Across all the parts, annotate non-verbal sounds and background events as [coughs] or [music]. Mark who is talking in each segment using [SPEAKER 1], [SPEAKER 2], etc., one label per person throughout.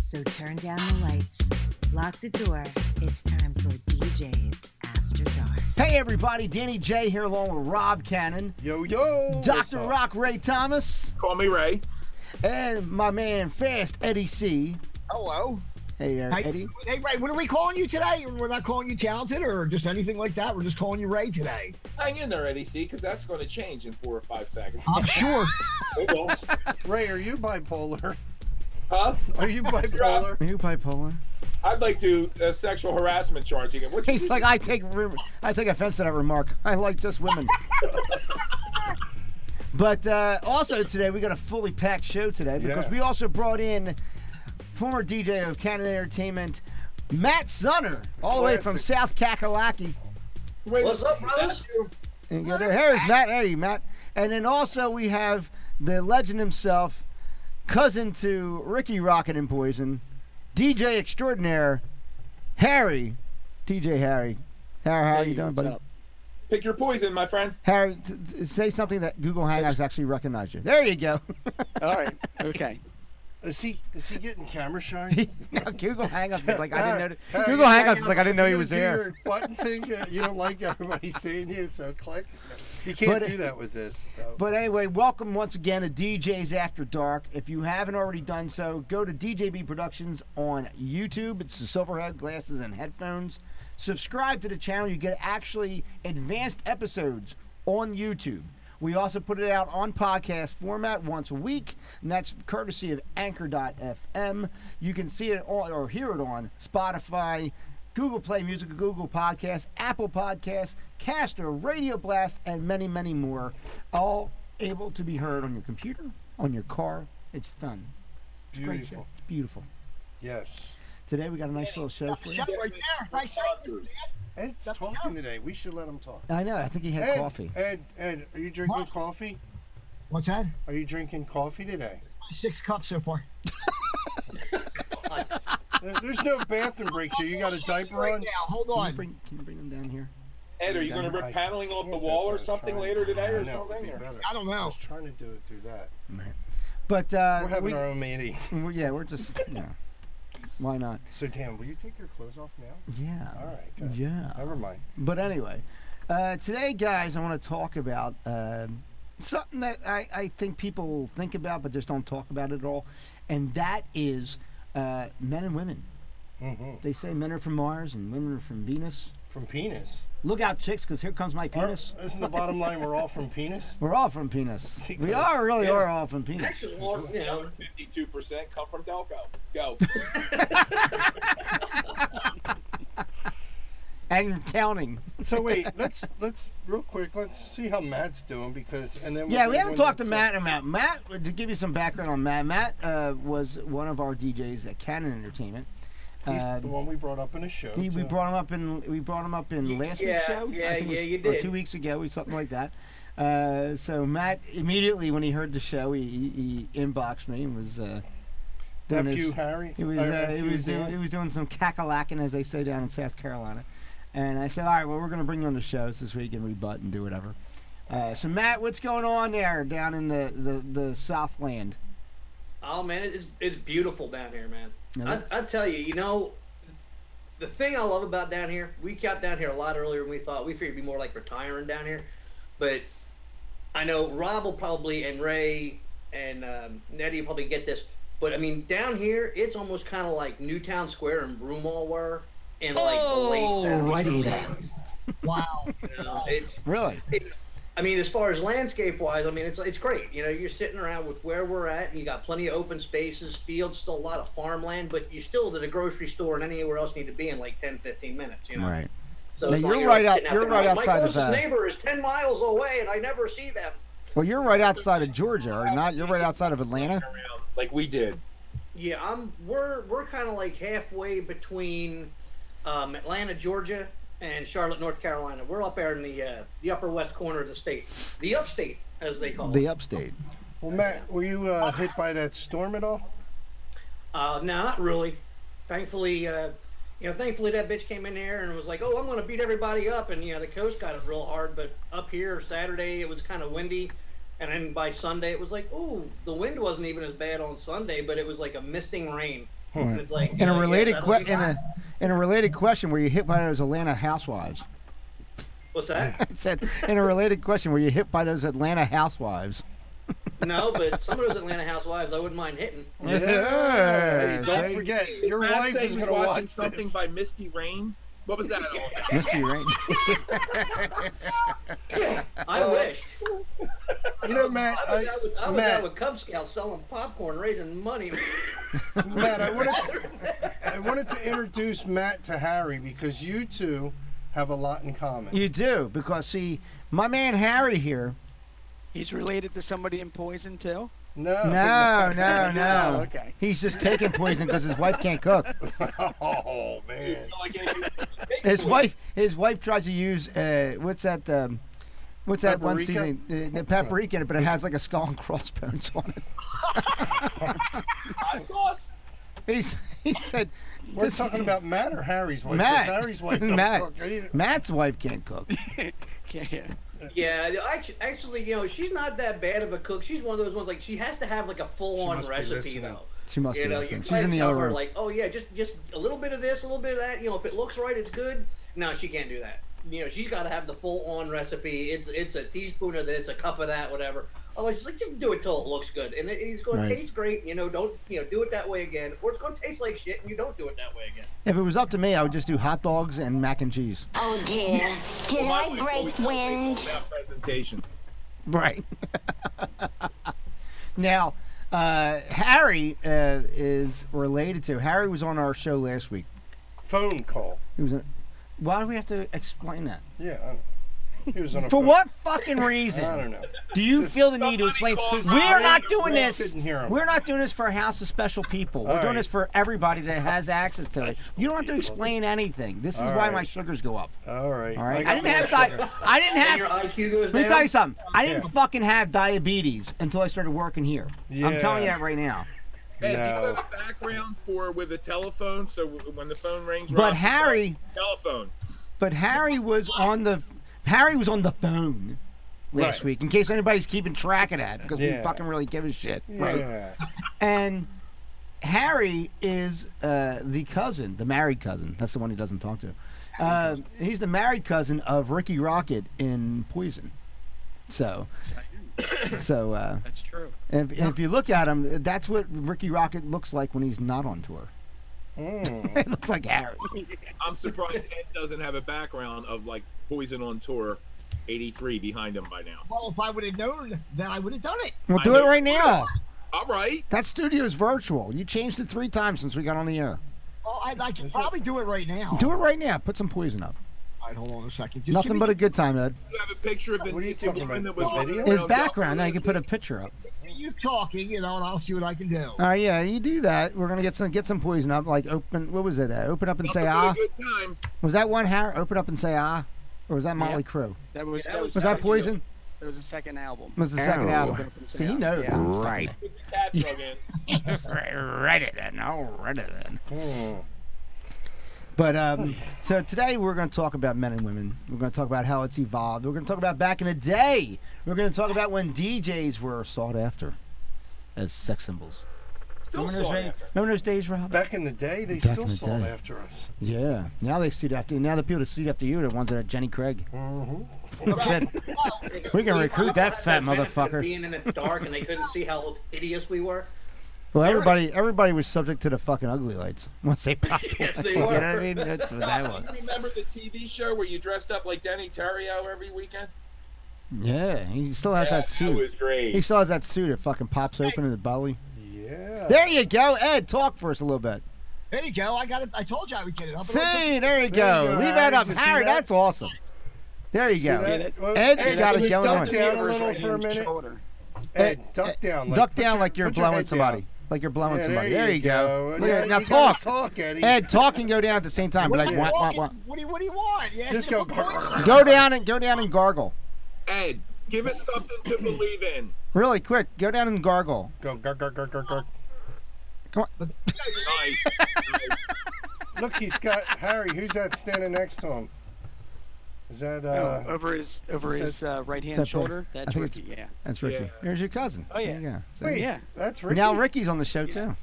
[SPEAKER 1] So turn down the lights, lock the door. It's time for DJ's After Dark.
[SPEAKER 2] Hey everybody, Danny J here along with Rob Cannon,
[SPEAKER 3] Yo, yo.
[SPEAKER 2] Dr. Rock Ray Thomas,
[SPEAKER 4] Call me Ray.
[SPEAKER 2] and my man Fast Eddie C.
[SPEAKER 3] Hello.
[SPEAKER 2] Hey there,
[SPEAKER 3] Hey,
[SPEAKER 2] Eddie.
[SPEAKER 3] hey, Ray, what are we calling you today? We're not calling you talented or just anything like that. We're just calling you Ray today.
[SPEAKER 4] Hang in there, Eddie C, because that's going to change in four or five seconds.
[SPEAKER 3] I'm sure.
[SPEAKER 4] It won't.
[SPEAKER 5] Ray, are you bipolar? [laughs]
[SPEAKER 4] huh?
[SPEAKER 2] [laughs]
[SPEAKER 5] Are you bipolar?
[SPEAKER 2] Are you bipolar?
[SPEAKER 4] I'd like to uh, sexual harassment charge again. What you
[SPEAKER 2] He's like, I take re- I take offense to that remark. I like just [laughs] women. but uh, also today we got a fully packed show today because
[SPEAKER 5] Yeah.
[SPEAKER 2] we also brought in former DJ of Cannon Entertainment, Matt Sunner, all the way from
[SPEAKER 5] Classic.
[SPEAKER 2] South Kakalaki.
[SPEAKER 4] Wait,
[SPEAKER 6] What's up, brothers?
[SPEAKER 2] And go there. Here's Matt. Hey, Matt. And then also we have the legend himself, cousin to Ricky Rocket and Poison, DJ extraordinaire, Harry, DJ Harry. Harry, how are you doing, buddy?
[SPEAKER 4] Pick your poison, my friend.
[SPEAKER 2] Harry, t- t- say something that Google Hangouts actually recognized you. There you go. [laughs]
[SPEAKER 7] All right. Okay.
[SPEAKER 5] Is he is he getting camera shy?
[SPEAKER 2] now Google Hangouts is [laughs] like I didn't know.
[SPEAKER 5] Harry,
[SPEAKER 2] Google
[SPEAKER 5] you
[SPEAKER 2] Hangouts
[SPEAKER 5] hang
[SPEAKER 2] is
[SPEAKER 5] out
[SPEAKER 2] like I didn't know he
[SPEAKER 5] you
[SPEAKER 2] was
[SPEAKER 5] do
[SPEAKER 2] there.
[SPEAKER 5] your Button thing. uh, You don't like everybody [laughs] seeing you, so click. You can't
[SPEAKER 2] But-
[SPEAKER 5] do that with this. Though.
[SPEAKER 2] But anyway, welcome once again to DJ's After Dark. If you haven't already done so, go to DJB Productions on YouTube. It's the Silverhead glasses and headphones. Subscribe to the channel. You get actually advanced episodes on YouTube. We also put it out on podcast format once a week, and that's courtesy of Anchor.fm. You can see it on, or hear it on Spotify, Google Play Music, Google Podcasts, Apple Podcasts, Caster, Radio Blast, and many, many more. All able to be heard on your computer, on your car. It's fun. It's a great show.
[SPEAKER 5] Beautiful.
[SPEAKER 2] It's beautiful.
[SPEAKER 5] Yes.
[SPEAKER 2] Today we got a nice little show for you.
[SPEAKER 3] Shut right there. Thanks, Ray.
[SPEAKER 5] Ed's talking today. We should let him talk.
[SPEAKER 2] I know. I think he had
[SPEAKER 5] Ed,
[SPEAKER 2] coffee.
[SPEAKER 5] Ed, Ed, are you drinking
[SPEAKER 3] What?
[SPEAKER 5] coffee?
[SPEAKER 3] What's that?
[SPEAKER 5] Are you drinking coffee today?
[SPEAKER 3] Six cups so far.
[SPEAKER 5] There- Uh, There's no bathroom breaks here.
[SPEAKER 2] [laughs]
[SPEAKER 5] You got a diaper
[SPEAKER 3] right
[SPEAKER 5] on?
[SPEAKER 3] now. Hold
[SPEAKER 2] Can you,
[SPEAKER 3] on.
[SPEAKER 2] bring, can you bring him down here?
[SPEAKER 4] Ed, are you going to rip
[SPEAKER 5] I
[SPEAKER 4] paneling off the
[SPEAKER 5] can't, that's what
[SPEAKER 4] wall or
[SPEAKER 5] I was
[SPEAKER 4] something
[SPEAKER 5] trying-
[SPEAKER 4] later today
[SPEAKER 5] I
[SPEAKER 4] or
[SPEAKER 5] know, it'd
[SPEAKER 4] something?
[SPEAKER 5] be
[SPEAKER 4] or-
[SPEAKER 5] better.
[SPEAKER 3] I don't
[SPEAKER 5] I
[SPEAKER 3] know.
[SPEAKER 5] was trying to do it through that.
[SPEAKER 2] But uh,
[SPEAKER 5] We're having
[SPEAKER 2] we-
[SPEAKER 5] our own meeting. [laughs]
[SPEAKER 2] we- yeah, we're just you know, why not?
[SPEAKER 5] So, Dan, will you take your clothes off now?
[SPEAKER 2] Yeah.
[SPEAKER 5] All right. Good.
[SPEAKER 2] Yeah.
[SPEAKER 5] Never mind.
[SPEAKER 2] But anyway, uh, today, guys, I want to talk about um something that I, I think people think about but just don't talk about it at all, and that is uh, men and women.
[SPEAKER 5] hmm
[SPEAKER 2] They say men are from Mars and women are from Venus.
[SPEAKER 5] From penis.
[SPEAKER 2] Look out, chicks, because here comes my
[SPEAKER 5] Aren't-
[SPEAKER 2] penis.
[SPEAKER 5] Isn't the bottom line we're all from penis?
[SPEAKER 2] We're all from penis. We
[SPEAKER 5] Because-
[SPEAKER 2] are really
[SPEAKER 5] yeah.
[SPEAKER 2] are all from penis.
[SPEAKER 6] Actually, well, you know,
[SPEAKER 4] 52% come from Delco.
[SPEAKER 5] [laughs]
[SPEAKER 4] Go.
[SPEAKER 2] And counting.
[SPEAKER 5] So wait, let's let's real quick. Let's see how Matt's doing because and then
[SPEAKER 2] Yeah,
[SPEAKER 5] we'll
[SPEAKER 2] we
[SPEAKER 5] do
[SPEAKER 2] haven't
[SPEAKER 5] one
[SPEAKER 2] talked to
[SPEAKER 5] that's, uh,
[SPEAKER 2] Matt about Matt. To give you some background on Matt, Matt uh, was one of our DJs at Canon Entertainment.
[SPEAKER 5] He's
[SPEAKER 2] Um,
[SPEAKER 5] the one we brought up in the show.
[SPEAKER 2] He, we
[SPEAKER 5] to-
[SPEAKER 2] brought him up in we brought him up in last week's
[SPEAKER 6] yeah,
[SPEAKER 2] show.
[SPEAKER 6] yeah,
[SPEAKER 2] I think it was-
[SPEAKER 6] yeah, you
[SPEAKER 2] Or
[SPEAKER 6] did.
[SPEAKER 2] two weeks ago, or something like that. Uh, so Matt immediately when he heard the show, he, he, he inboxed me and was uh, doing
[SPEAKER 5] nephew
[SPEAKER 2] his-
[SPEAKER 5] Harry.
[SPEAKER 2] he was
[SPEAKER 5] or
[SPEAKER 2] uh, he
[SPEAKER 5] nephew
[SPEAKER 2] was doing,
[SPEAKER 5] Dan.
[SPEAKER 2] he was doing some cackalacken as they say down in South Carolina, and I said, all right, well we're gonna bring you on the shows this week and rebut and do whatever. Uh, so Matt, what's going on there down in the the, the Southland?
[SPEAKER 6] oh man, it's it's beautiful down here, man.
[SPEAKER 2] Yeah.
[SPEAKER 6] I, I tell you, you know, the thing I love about down here, we got down here a lot earlier than we thought. We figured it'd be more like retiring down here, but I know Rob will probably and Ray and um, Nettie will probably get this, but I mean, down here, it's almost kind of like Newtown Square and Broomall were in like the late 70s,
[SPEAKER 7] Alrighty
[SPEAKER 6] early
[SPEAKER 7] then.
[SPEAKER 6] 80s,
[SPEAKER 3] Wow.
[SPEAKER 6] You know, it's
[SPEAKER 2] Really?
[SPEAKER 6] I mean, as far as landscape wise, I mean, it's it's great. You know, you're sitting around with where we're at, and you got plenty of open spaces, fields, still a lot of farmland, but you still at a grocery store and anywhere else need to be in like 10, 15 minutes. You know,
[SPEAKER 2] Right.
[SPEAKER 6] So
[SPEAKER 2] Now,
[SPEAKER 6] it's
[SPEAKER 2] you're
[SPEAKER 6] like
[SPEAKER 2] right out-
[SPEAKER 6] sitting
[SPEAKER 2] you're
[SPEAKER 6] there
[SPEAKER 2] right
[SPEAKER 6] going,
[SPEAKER 2] outside
[SPEAKER 6] My
[SPEAKER 2] of,
[SPEAKER 6] closest
[SPEAKER 2] uh,
[SPEAKER 6] neighbor is ten miles away, and I never see them.
[SPEAKER 2] Well, you're right outside of Georgia, are you not? You're right outside of Atlanta.
[SPEAKER 4] like we did.
[SPEAKER 6] Yeah, I'm. We're we're kind of like halfway between um, Atlanta, Georgia, and Charlotte, North Carolina. We're up there in the uh, the upper west corner of the state, the upstate, as they call it.
[SPEAKER 2] The upstate.
[SPEAKER 5] Well, Matt, were
[SPEAKER 2] [laughs]
[SPEAKER 5] you uh, hit by that storm at all?
[SPEAKER 6] Uh, no, not really. Thankfully, uh, you know, thankfully that bitch came in here and was like, "Oh, I'm gonna beat everybody up," and you know, the coast got it real hard. But up here Saturday, it was kind of windy, And then by Sunday, it was like, ooh, the wind wasn't even as bad on Sunday, but it was like a misting rain. And it's like
[SPEAKER 2] In
[SPEAKER 6] uh,
[SPEAKER 2] a
[SPEAKER 6] yeah,
[SPEAKER 2] related
[SPEAKER 6] that'll
[SPEAKER 2] que-
[SPEAKER 6] be
[SPEAKER 2] in
[SPEAKER 6] fine.
[SPEAKER 2] a in a related question, were you hit by those Atlanta housewives?
[SPEAKER 6] what's that?
[SPEAKER 2] [laughs] It said in a related question, were you hit by those Atlanta housewives?
[SPEAKER 6] no, but some of those Atlanta housewives, I wouldn't mind hitting.
[SPEAKER 5] Yeah. Hey, don't
[SPEAKER 2] Right.
[SPEAKER 5] forget, your
[SPEAKER 4] Matt
[SPEAKER 5] wife
[SPEAKER 4] say
[SPEAKER 5] is
[SPEAKER 4] he was
[SPEAKER 5] gonna
[SPEAKER 4] watching
[SPEAKER 5] watch
[SPEAKER 4] something
[SPEAKER 5] this.
[SPEAKER 4] by Misty Rain. What was that? all about?
[SPEAKER 2] Misty Rain.
[SPEAKER 6] I
[SPEAKER 5] Uh,
[SPEAKER 6] wished.
[SPEAKER 5] you know, Matt.
[SPEAKER 6] I was,
[SPEAKER 5] I,
[SPEAKER 6] out, with, I was
[SPEAKER 5] Matt.
[SPEAKER 6] out with Cub Scouts selling popcorn, raising money. [laughs]
[SPEAKER 5] Matt, I wanted, to, I wanted to introduce Matt to Harry because you two have a lot in common.
[SPEAKER 2] [laughs] you do because see, my man Harry here.
[SPEAKER 7] He's related to somebody in Poison too.
[SPEAKER 5] Oh, No.
[SPEAKER 2] No,
[SPEAKER 5] [laughs]
[SPEAKER 2] no, no.
[SPEAKER 7] okay.
[SPEAKER 2] He's just taking poison because his wife can't cook. [laughs]
[SPEAKER 5] oh man.
[SPEAKER 4] Like, anyway,
[SPEAKER 2] His wife, his wife tries to use uh, what's that? Um, what's that one
[SPEAKER 5] Paprika?
[SPEAKER 2] seasoning? The, the paprika in it, but it has like a skull and crossbones on it.
[SPEAKER 4] hot sauce.
[SPEAKER 2] He's, he said,
[SPEAKER 5] We're
[SPEAKER 2] this-
[SPEAKER 5] talking about Matt or Harry's wife. 'Cause
[SPEAKER 2] Matt.
[SPEAKER 5] Harry's wife.
[SPEAKER 2] [laughs]
[SPEAKER 5] Don't
[SPEAKER 2] Matt.
[SPEAKER 5] Cook either.
[SPEAKER 2] Matt's wife can't cook.
[SPEAKER 7] Yeah.
[SPEAKER 6] yeah, I actu- actually, you know, she's not that bad of a cook. She's one of those ones like she has to have like a full-on
[SPEAKER 5] must be
[SPEAKER 6] recipe
[SPEAKER 5] listening.
[SPEAKER 6] though.
[SPEAKER 2] She must
[SPEAKER 6] You
[SPEAKER 2] be
[SPEAKER 6] know,
[SPEAKER 2] listening.
[SPEAKER 6] you
[SPEAKER 2] She's in the other room.
[SPEAKER 6] Like, oh yeah, just just a little bit of this, a little bit of that. You know, if it looks right, it's good. No, she can't do that. You know, she's got to have the full-on recipe. It's it's a teaspoon of this, a cup of that, whatever. Otherwise, she's like, just do it till it looks good, and it, it's going
[SPEAKER 2] Right.
[SPEAKER 6] to taste great. You know, don't you know, do it that way again, or it's going to taste like shit, and you don't do it that way again.
[SPEAKER 2] If it was up to me, I would just do hot dogs and mac and cheese.
[SPEAKER 8] Oh dear. Did
[SPEAKER 4] My
[SPEAKER 8] I
[SPEAKER 4] wife always
[SPEAKER 8] break
[SPEAKER 4] tells me it's
[SPEAKER 8] wind?
[SPEAKER 4] all about presentation.
[SPEAKER 2] Right. [laughs] now, uh, Harry uh, is related to. Harry was on our show last week.
[SPEAKER 5] Phone call.
[SPEAKER 2] He was. In, why do we have to explain that?
[SPEAKER 5] Yeah. I don't- He was on a
[SPEAKER 2] [laughs] For
[SPEAKER 5] phone-
[SPEAKER 2] what fucking
[SPEAKER 5] I
[SPEAKER 2] reason
[SPEAKER 5] don't know.
[SPEAKER 2] [laughs] do you feel the need to explain?
[SPEAKER 4] Somebody calls
[SPEAKER 2] We're
[SPEAKER 4] Ray.
[SPEAKER 2] not doing
[SPEAKER 5] Ray
[SPEAKER 2] this.
[SPEAKER 5] couldn't hear him.
[SPEAKER 2] We're not doing this for a house of special people. We're
[SPEAKER 5] All
[SPEAKER 2] doing
[SPEAKER 5] right.
[SPEAKER 2] this for everybody that has access to it. You don't have to explain anything. This is
[SPEAKER 5] All
[SPEAKER 2] why
[SPEAKER 5] right.
[SPEAKER 2] my sugars go up.
[SPEAKER 5] All right.
[SPEAKER 2] All right.
[SPEAKER 5] got
[SPEAKER 2] I didn't
[SPEAKER 5] more
[SPEAKER 2] have
[SPEAKER 5] sugar.
[SPEAKER 2] di- I didn't
[SPEAKER 6] And your
[SPEAKER 2] have.
[SPEAKER 6] IQ goes
[SPEAKER 2] Let me
[SPEAKER 6] down.
[SPEAKER 2] tell you something. I didn't
[SPEAKER 5] Yeah.
[SPEAKER 2] fucking have diabetes until I started working here. I'm telling you
[SPEAKER 5] Yeah.
[SPEAKER 2] that right now.
[SPEAKER 4] Hey, do
[SPEAKER 5] No.
[SPEAKER 4] you have a background for with a telephone? So w- when the phone rings,
[SPEAKER 2] But
[SPEAKER 4] Rob,
[SPEAKER 2] Harry,
[SPEAKER 4] telephone.
[SPEAKER 2] but Harry was on the Harry was on the phone last
[SPEAKER 5] Right.
[SPEAKER 2] week. In case anybody's keeping track of that, because we
[SPEAKER 5] Yeah.
[SPEAKER 2] fucking really give a shit. [laughs]
[SPEAKER 5] Yeah.
[SPEAKER 2] And Harry is uh, the cousin, the married cousin. That's the one he doesn't talk to. Uh, he's the married cousin of Ricky Rocket in Poison. So, [coughs] so uh,
[SPEAKER 7] That's true.
[SPEAKER 2] if, if you look at him, that's what Ricky Rocket looks like when he's not on tour. [laughs]
[SPEAKER 5] Mm.
[SPEAKER 2] it looks like Harry.
[SPEAKER 4] I'm surprised Ed doesn't have a background of like Poison on tour, '83 behind him by now.
[SPEAKER 3] Well, if I would have known, then I would have done it.
[SPEAKER 2] We'll
[SPEAKER 4] I
[SPEAKER 2] do it
[SPEAKER 4] know.
[SPEAKER 2] right now.
[SPEAKER 4] All right.
[SPEAKER 2] That studio is virtual. You changed it three times since we got on the air.
[SPEAKER 3] Well, I, I could probably do it right now.
[SPEAKER 2] Do it right now. Put some poison up.
[SPEAKER 3] All right, hold on a second. Just
[SPEAKER 2] Nothing
[SPEAKER 3] give
[SPEAKER 2] but
[SPEAKER 3] me,
[SPEAKER 2] a good time, Ed.
[SPEAKER 4] You have a picture of the
[SPEAKER 5] What are you talking about?
[SPEAKER 4] That was
[SPEAKER 5] The video?
[SPEAKER 2] His
[SPEAKER 4] around
[SPEAKER 2] background. Now you can
[SPEAKER 4] Dublin
[SPEAKER 2] put a picture up.
[SPEAKER 3] you talking, you know, and I'll see what I can do.
[SPEAKER 2] All right, Oh, yeah, you do that. We're gonna get some get some poison up. Like open. What was it? Uh, open up and
[SPEAKER 4] last
[SPEAKER 2] say
[SPEAKER 4] week.
[SPEAKER 2] ah.
[SPEAKER 4] Good time.
[SPEAKER 2] Was that one Harry? Open up and say ah. Or was that Motley Crue?
[SPEAKER 7] That was
[SPEAKER 6] Yeah,
[SPEAKER 7] that was,
[SPEAKER 2] Was
[SPEAKER 7] that
[SPEAKER 2] that Poison?
[SPEAKER 7] was the second album.
[SPEAKER 2] Was the second album? See, he knows. Right.
[SPEAKER 4] Put the cat plug in.
[SPEAKER 2] Read it then. I'll read it then.
[SPEAKER 5] Mm.
[SPEAKER 2] But um, so today we're going to talk about men and women. We're going to talk about how it's evolved. We're going to talk about back in the day. We're going to talk about when DJs were sought after as sex symbols.
[SPEAKER 4] Still
[SPEAKER 2] remember, those
[SPEAKER 4] saw it
[SPEAKER 2] days,
[SPEAKER 4] after.
[SPEAKER 2] remember those days, Rob?
[SPEAKER 5] Back in the day, they
[SPEAKER 2] Back
[SPEAKER 5] still
[SPEAKER 2] in the
[SPEAKER 5] sought
[SPEAKER 2] day.
[SPEAKER 5] after us.
[SPEAKER 2] yeah. Now they suit after. Now the people that suit after you are the ones that are Jenny Craig.
[SPEAKER 5] Mm-hmm.
[SPEAKER 2] Said, we can recruit that fat
[SPEAKER 6] benefit of
[SPEAKER 2] motherfucker.
[SPEAKER 6] Being in the dark and they couldn't see how hideous we were.
[SPEAKER 2] Well, everybody, everybody was subject to the fucking ugly lights [laughs] once they popped.
[SPEAKER 6] [laughs] Yes,
[SPEAKER 2] away.
[SPEAKER 6] they
[SPEAKER 2] You know what I
[SPEAKER 6] were.
[SPEAKER 2] mean? That's what that was.
[SPEAKER 4] You remember the TV show where you dressed up like Danny Terrio every weekend?
[SPEAKER 2] Yeah, he still has that
[SPEAKER 4] That
[SPEAKER 2] suit.
[SPEAKER 4] was great.
[SPEAKER 2] He still has that suit. It fucking pops open in the belly.
[SPEAKER 5] Yeah.
[SPEAKER 2] There you go, Ed. Talk for us a little bit.
[SPEAKER 3] There you go. I got it. I told you I would get it up. and I
[SPEAKER 2] See, there you
[SPEAKER 5] you
[SPEAKER 2] go.
[SPEAKER 5] go,
[SPEAKER 2] Leave
[SPEAKER 5] Harry.
[SPEAKER 2] that up,
[SPEAKER 5] Did you see
[SPEAKER 2] Harry.
[SPEAKER 5] that?
[SPEAKER 2] That's awesome. There you
[SPEAKER 5] See
[SPEAKER 2] go.
[SPEAKER 5] that? Well,
[SPEAKER 2] Ed's
[SPEAKER 5] Ed,
[SPEAKER 2] gotta
[SPEAKER 5] can we
[SPEAKER 2] get
[SPEAKER 5] duck
[SPEAKER 2] on.
[SPEAKER 5] down a
[SPEAKER 7] Right
[SPEAKER 5] little
[SPEAKER 7] hand
[SPEAKER 5] for a minute.
[SPEAKER 7] shoulder.
[SPEAKER 5] Ed, duck down. Like,
[SPEAKER 2] Duck
[SPEAKER 5] put
[SPEAKER 2] down
[SPEAKER 5] your-
[SPEAKER 2] like you're
[SPEAKER 5] put your
[SPEAKER 2] blowing
[SPEAKER 5] head
[SPEAKER 2] somebody.
[SPEAKER 5] down.
[SPEAKER 2] Like you're blowing
[SPEAKER 5] Yeah,
[SPEAKER 2] somebody. There you go. Look at
[SPEAKER 5] Yeah,
[SPEAKER 2] that. Now
[SPEAKER 5] you gotta
[SPEAKER 2] talk.
[SPEAKER 5] talk, Eddie.
[SPEAKER 2] Ed, talk and go down at the same time. Be
[SPEAKER 3] What,
[SPEAKER 2] like,
[SPEAKER 3] do you
[SPEAKER 2] wah, wah,
[SPEAKER 3] want?
[SPEAKER 2] wah.
[SPEAKER 3] what, do you, what do you want? Yeah,
[SPEAKER 5] Just
[SPEAKER 3] you
[SPEAKER 5] go.
[SPEAKER 3] know, poison.
[SPEAKER 2] Go down and go down and gargle.
[SPEAKER 4] Ed, give us something to
[SPEAKER 5] [laughs]
[SPEAKER 4] believe in.
[SPEAKER 2] Really quick. Go down and gargle.
[SPEAKER 5] Go, go, go, go, go, go.
[SPEAKER 4] Nice.
[SPEAKER 5] Look, he's got Harry. Who's that standing next to him? Is that
[SPEAKER 7] Oh,
[SPEAKER 5] uh,
[SPEAKER 7] over his over
[SPEAKER 5] says-
[SPEAKER 7] his uh, right
[SPEAKER 2] that
[SPEAKER 7] hand
[SPEAKER 2] Rick?
[SPEAKER 7] shoulder.
[SPEAKER 2] I
[SPEAKER 7] That's
[SPEAKER 2] think it's-
[SPEAKER 7] Ricky. Yeah.
[SPEAKER 2] That's Ricky.
[SPEAKER 4] Yeah.
[SPEAKER 2] There's your cousin.
[SPEAKER 7] Oh, yeah.
[SPEAKER 2] There you go. So-
[SPEAKER 5] wait?
[SPEAKER 7] yeah.
[SPEAKER 5] That's Ricky.
[SPEAKER 2] Now Ricky's on the show too.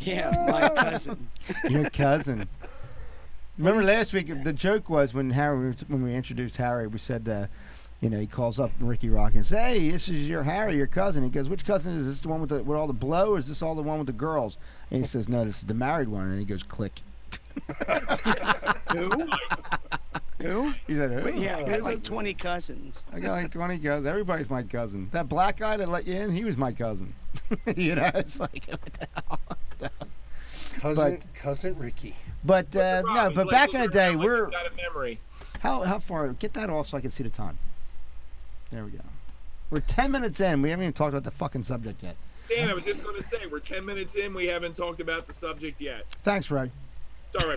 [SPEAKER 7] Yeah, my cousin.
[SPEAKER 2] Your
[SPEAKER 7] [laughs]
[SPEAKER 2] cousin. Remember last week, the joke was when Harry, when we introduced Harry, we said, uh, you know, he calls up Ricky Rock and says, "Hey, this is your Harry, your cousin." He goes, "Which cousin is this? The one with the with all the blow, or is this all the one with the girls?" And he says, "No, this is the married one." And he goes, "Click."
[SPEAKER 7] [laughs]
[SPEAKER 2] [laughs]
[SPEAKER 7] Who? Who?
[SPEAKER 2] He said, "Who?"
[SPEAKER 7] But yeah, I got
[SPEAKER 2] He's
[SPEAKER 7] like 20 cousins.
[SPEAKER 2] I got like 20 girls. Everybody's my cousin. That black guy that let you in, he was my cousin. [laughs] you know, it's like, [laughs] what the hell? So-
[SPEAKER 5] cousin, cousin Ricky.
[SPEAKER 2] But uh,
[SPEAKER 4] Rob,
[SPEAKER 2] no,
[SPEAKER 4] it's
[SPEAKER 2] but
[SPEAKER 4] like
[SPEAKER 2] back
[SPEAKER 4] you
[SPEAKER 2] in the
[SPEAKER 4] look
[SPEAKER 2] day,
[SPEAKER 4] around like he's
[SPEAKER 2] we're
[SPEAKER 4] got a memory.
[SPEAKER 2] how how far? Get that off so I can see the time. There we go. We're 10 minutes in. We haven't even talked about the fucking subject yet.
[SPEAKER 4] Dan, I was just going to say we're ten minutes in. We haven't talked about the subject yet.
[SPEAKER 2] Thanks, Ray.
[SPEAKER 4] Sorry,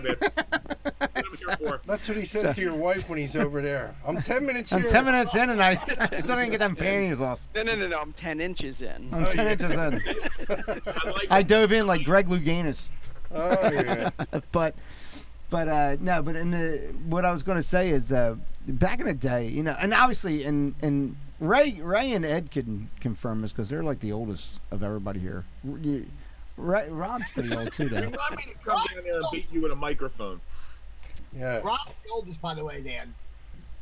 [SPEAKER 2] [laughs]
[SPEAKER 4] man. That's what I'm here for.
[SPEAKER 5] That's what he says to your wife when he's over there. I'm ten minutes
[SPEAKER 2] I'm
[SPEAKER 5] here.
[SPEAKER 2] 10 minutes in and I [laughs] still didn't get them panties off.
[SPEAKER 7] No, no, no, no. I'm 10 inches in.
[SPEAKER 4] Oh,
[SPEAKER 2] I'm 10 inches in.
[SPEAKER 4] [laughs] I like
[SPEAKER 2] I dove in like Greg Louganis.
[SPEAKER 5] Oh yeah.
[SPEAKER 2] but but uh, no, but in the what I was going to say is uh, back in the day, you know, and obviously, and and Ray Ray and Ed can confirm this because they're like the oldest of everybody here. R- you- Ray, Rob's pretty old too,
[SPEAKER 5] [laughs]
[SPEAKER 2] though.
[SPEAKER 4] You want me to come down there and beat you with a microphone?
[SPEAKER 2] [laughs]
[SPEAKER 5] Yes.
[SPEAKER 3] Rob's the oldest, by the way, Dan.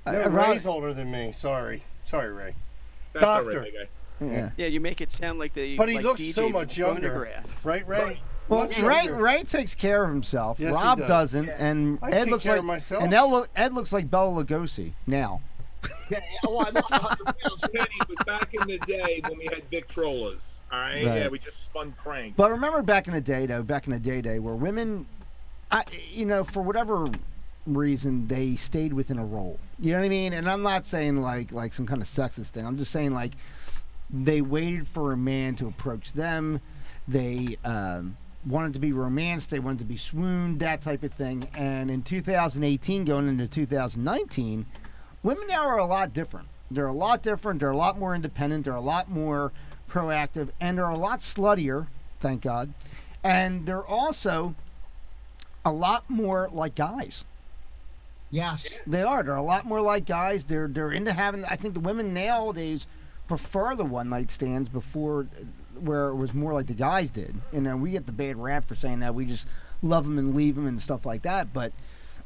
[SPEAKER 5] No,
[SPEAKER 2] Uh, Rob-
[SPEAKER 5] Ray's older than me. Sorry. Sorry, Ray.
[SPEAKER 4] That's all right,
[SPEAKER 5] Doctor.
[SPEAKER 4] big guy.
[SPEAKER 2] yeah.
[SPEAKER 7] Yeah, you make it sound like the.
[SPEAKER 5] But he
[SPEAKER 7] like
[SPEAKER 5] looks
[SPEAKER 7] DJ
[SPEAKER 5] so much
[SPEAKER 7] Phonograph.
[SPEAKER 5] younger. Right, Ray?
[SPEAKER 4] Right.
[SPEAKER 2] Well,
[SPEAKER 5] Much
[SPEAKER 2] Ray
[SPEAKER 5] younger.
[SPEAKER 2] Ray takes care of himself.
[SPEAKER 5] Yes, he
[SPEAKER 2] Rob
[SPEAKER 5] does.
[SPEAKER 2] does. not and
[SPEAKER 5] I
[SPEAKER 2] Ed
[SPEAKER 5] take
[SPEAKER 2] looks
[SPEAKER 5] care
[SPEAKER 2] like
[SPEAKER 5] of myself.
[SPEAKER 2] and Ed, look, Ed looks like Bella Lugosi now.
[SPEAKER 3] Yeah, yeah, well, I know [laughs] 100 pounds.
[SPEAKER 4] Kenny it was back in the day when we had Victrolas. All right?
[SPEAKER 2] Right.
[SPEAKER 4] Yeah, we just spun cranks.
[SPEAKER 2] But remember back in the day, though, back in the day, day where women, I, you know, for whatever reason, they stayed within a role. You know what I mean? And I'm not saying like like some kind of sexist thing. I'm just saying like they waited for a man to approach them. They um, wanted to be romanced. They wanted to be swooned, that type of thing. And in 2018, going into 2019, women now are a lot different. They're a lot different. They're a lot more independent. They're a lot more proactive, and they're a lot sluttier. Thank God. And they're also a lot more like guys.
[SPEAKER 3] Yes.
[SPEAKER 2] They are. They're a lot more like guys. They're they're into having. I think the women nowadays prefer the one night stands before, uh, where it was more like the guys did. You know, we get the bad rap for saying that we just love them and leave them and stuff like that. But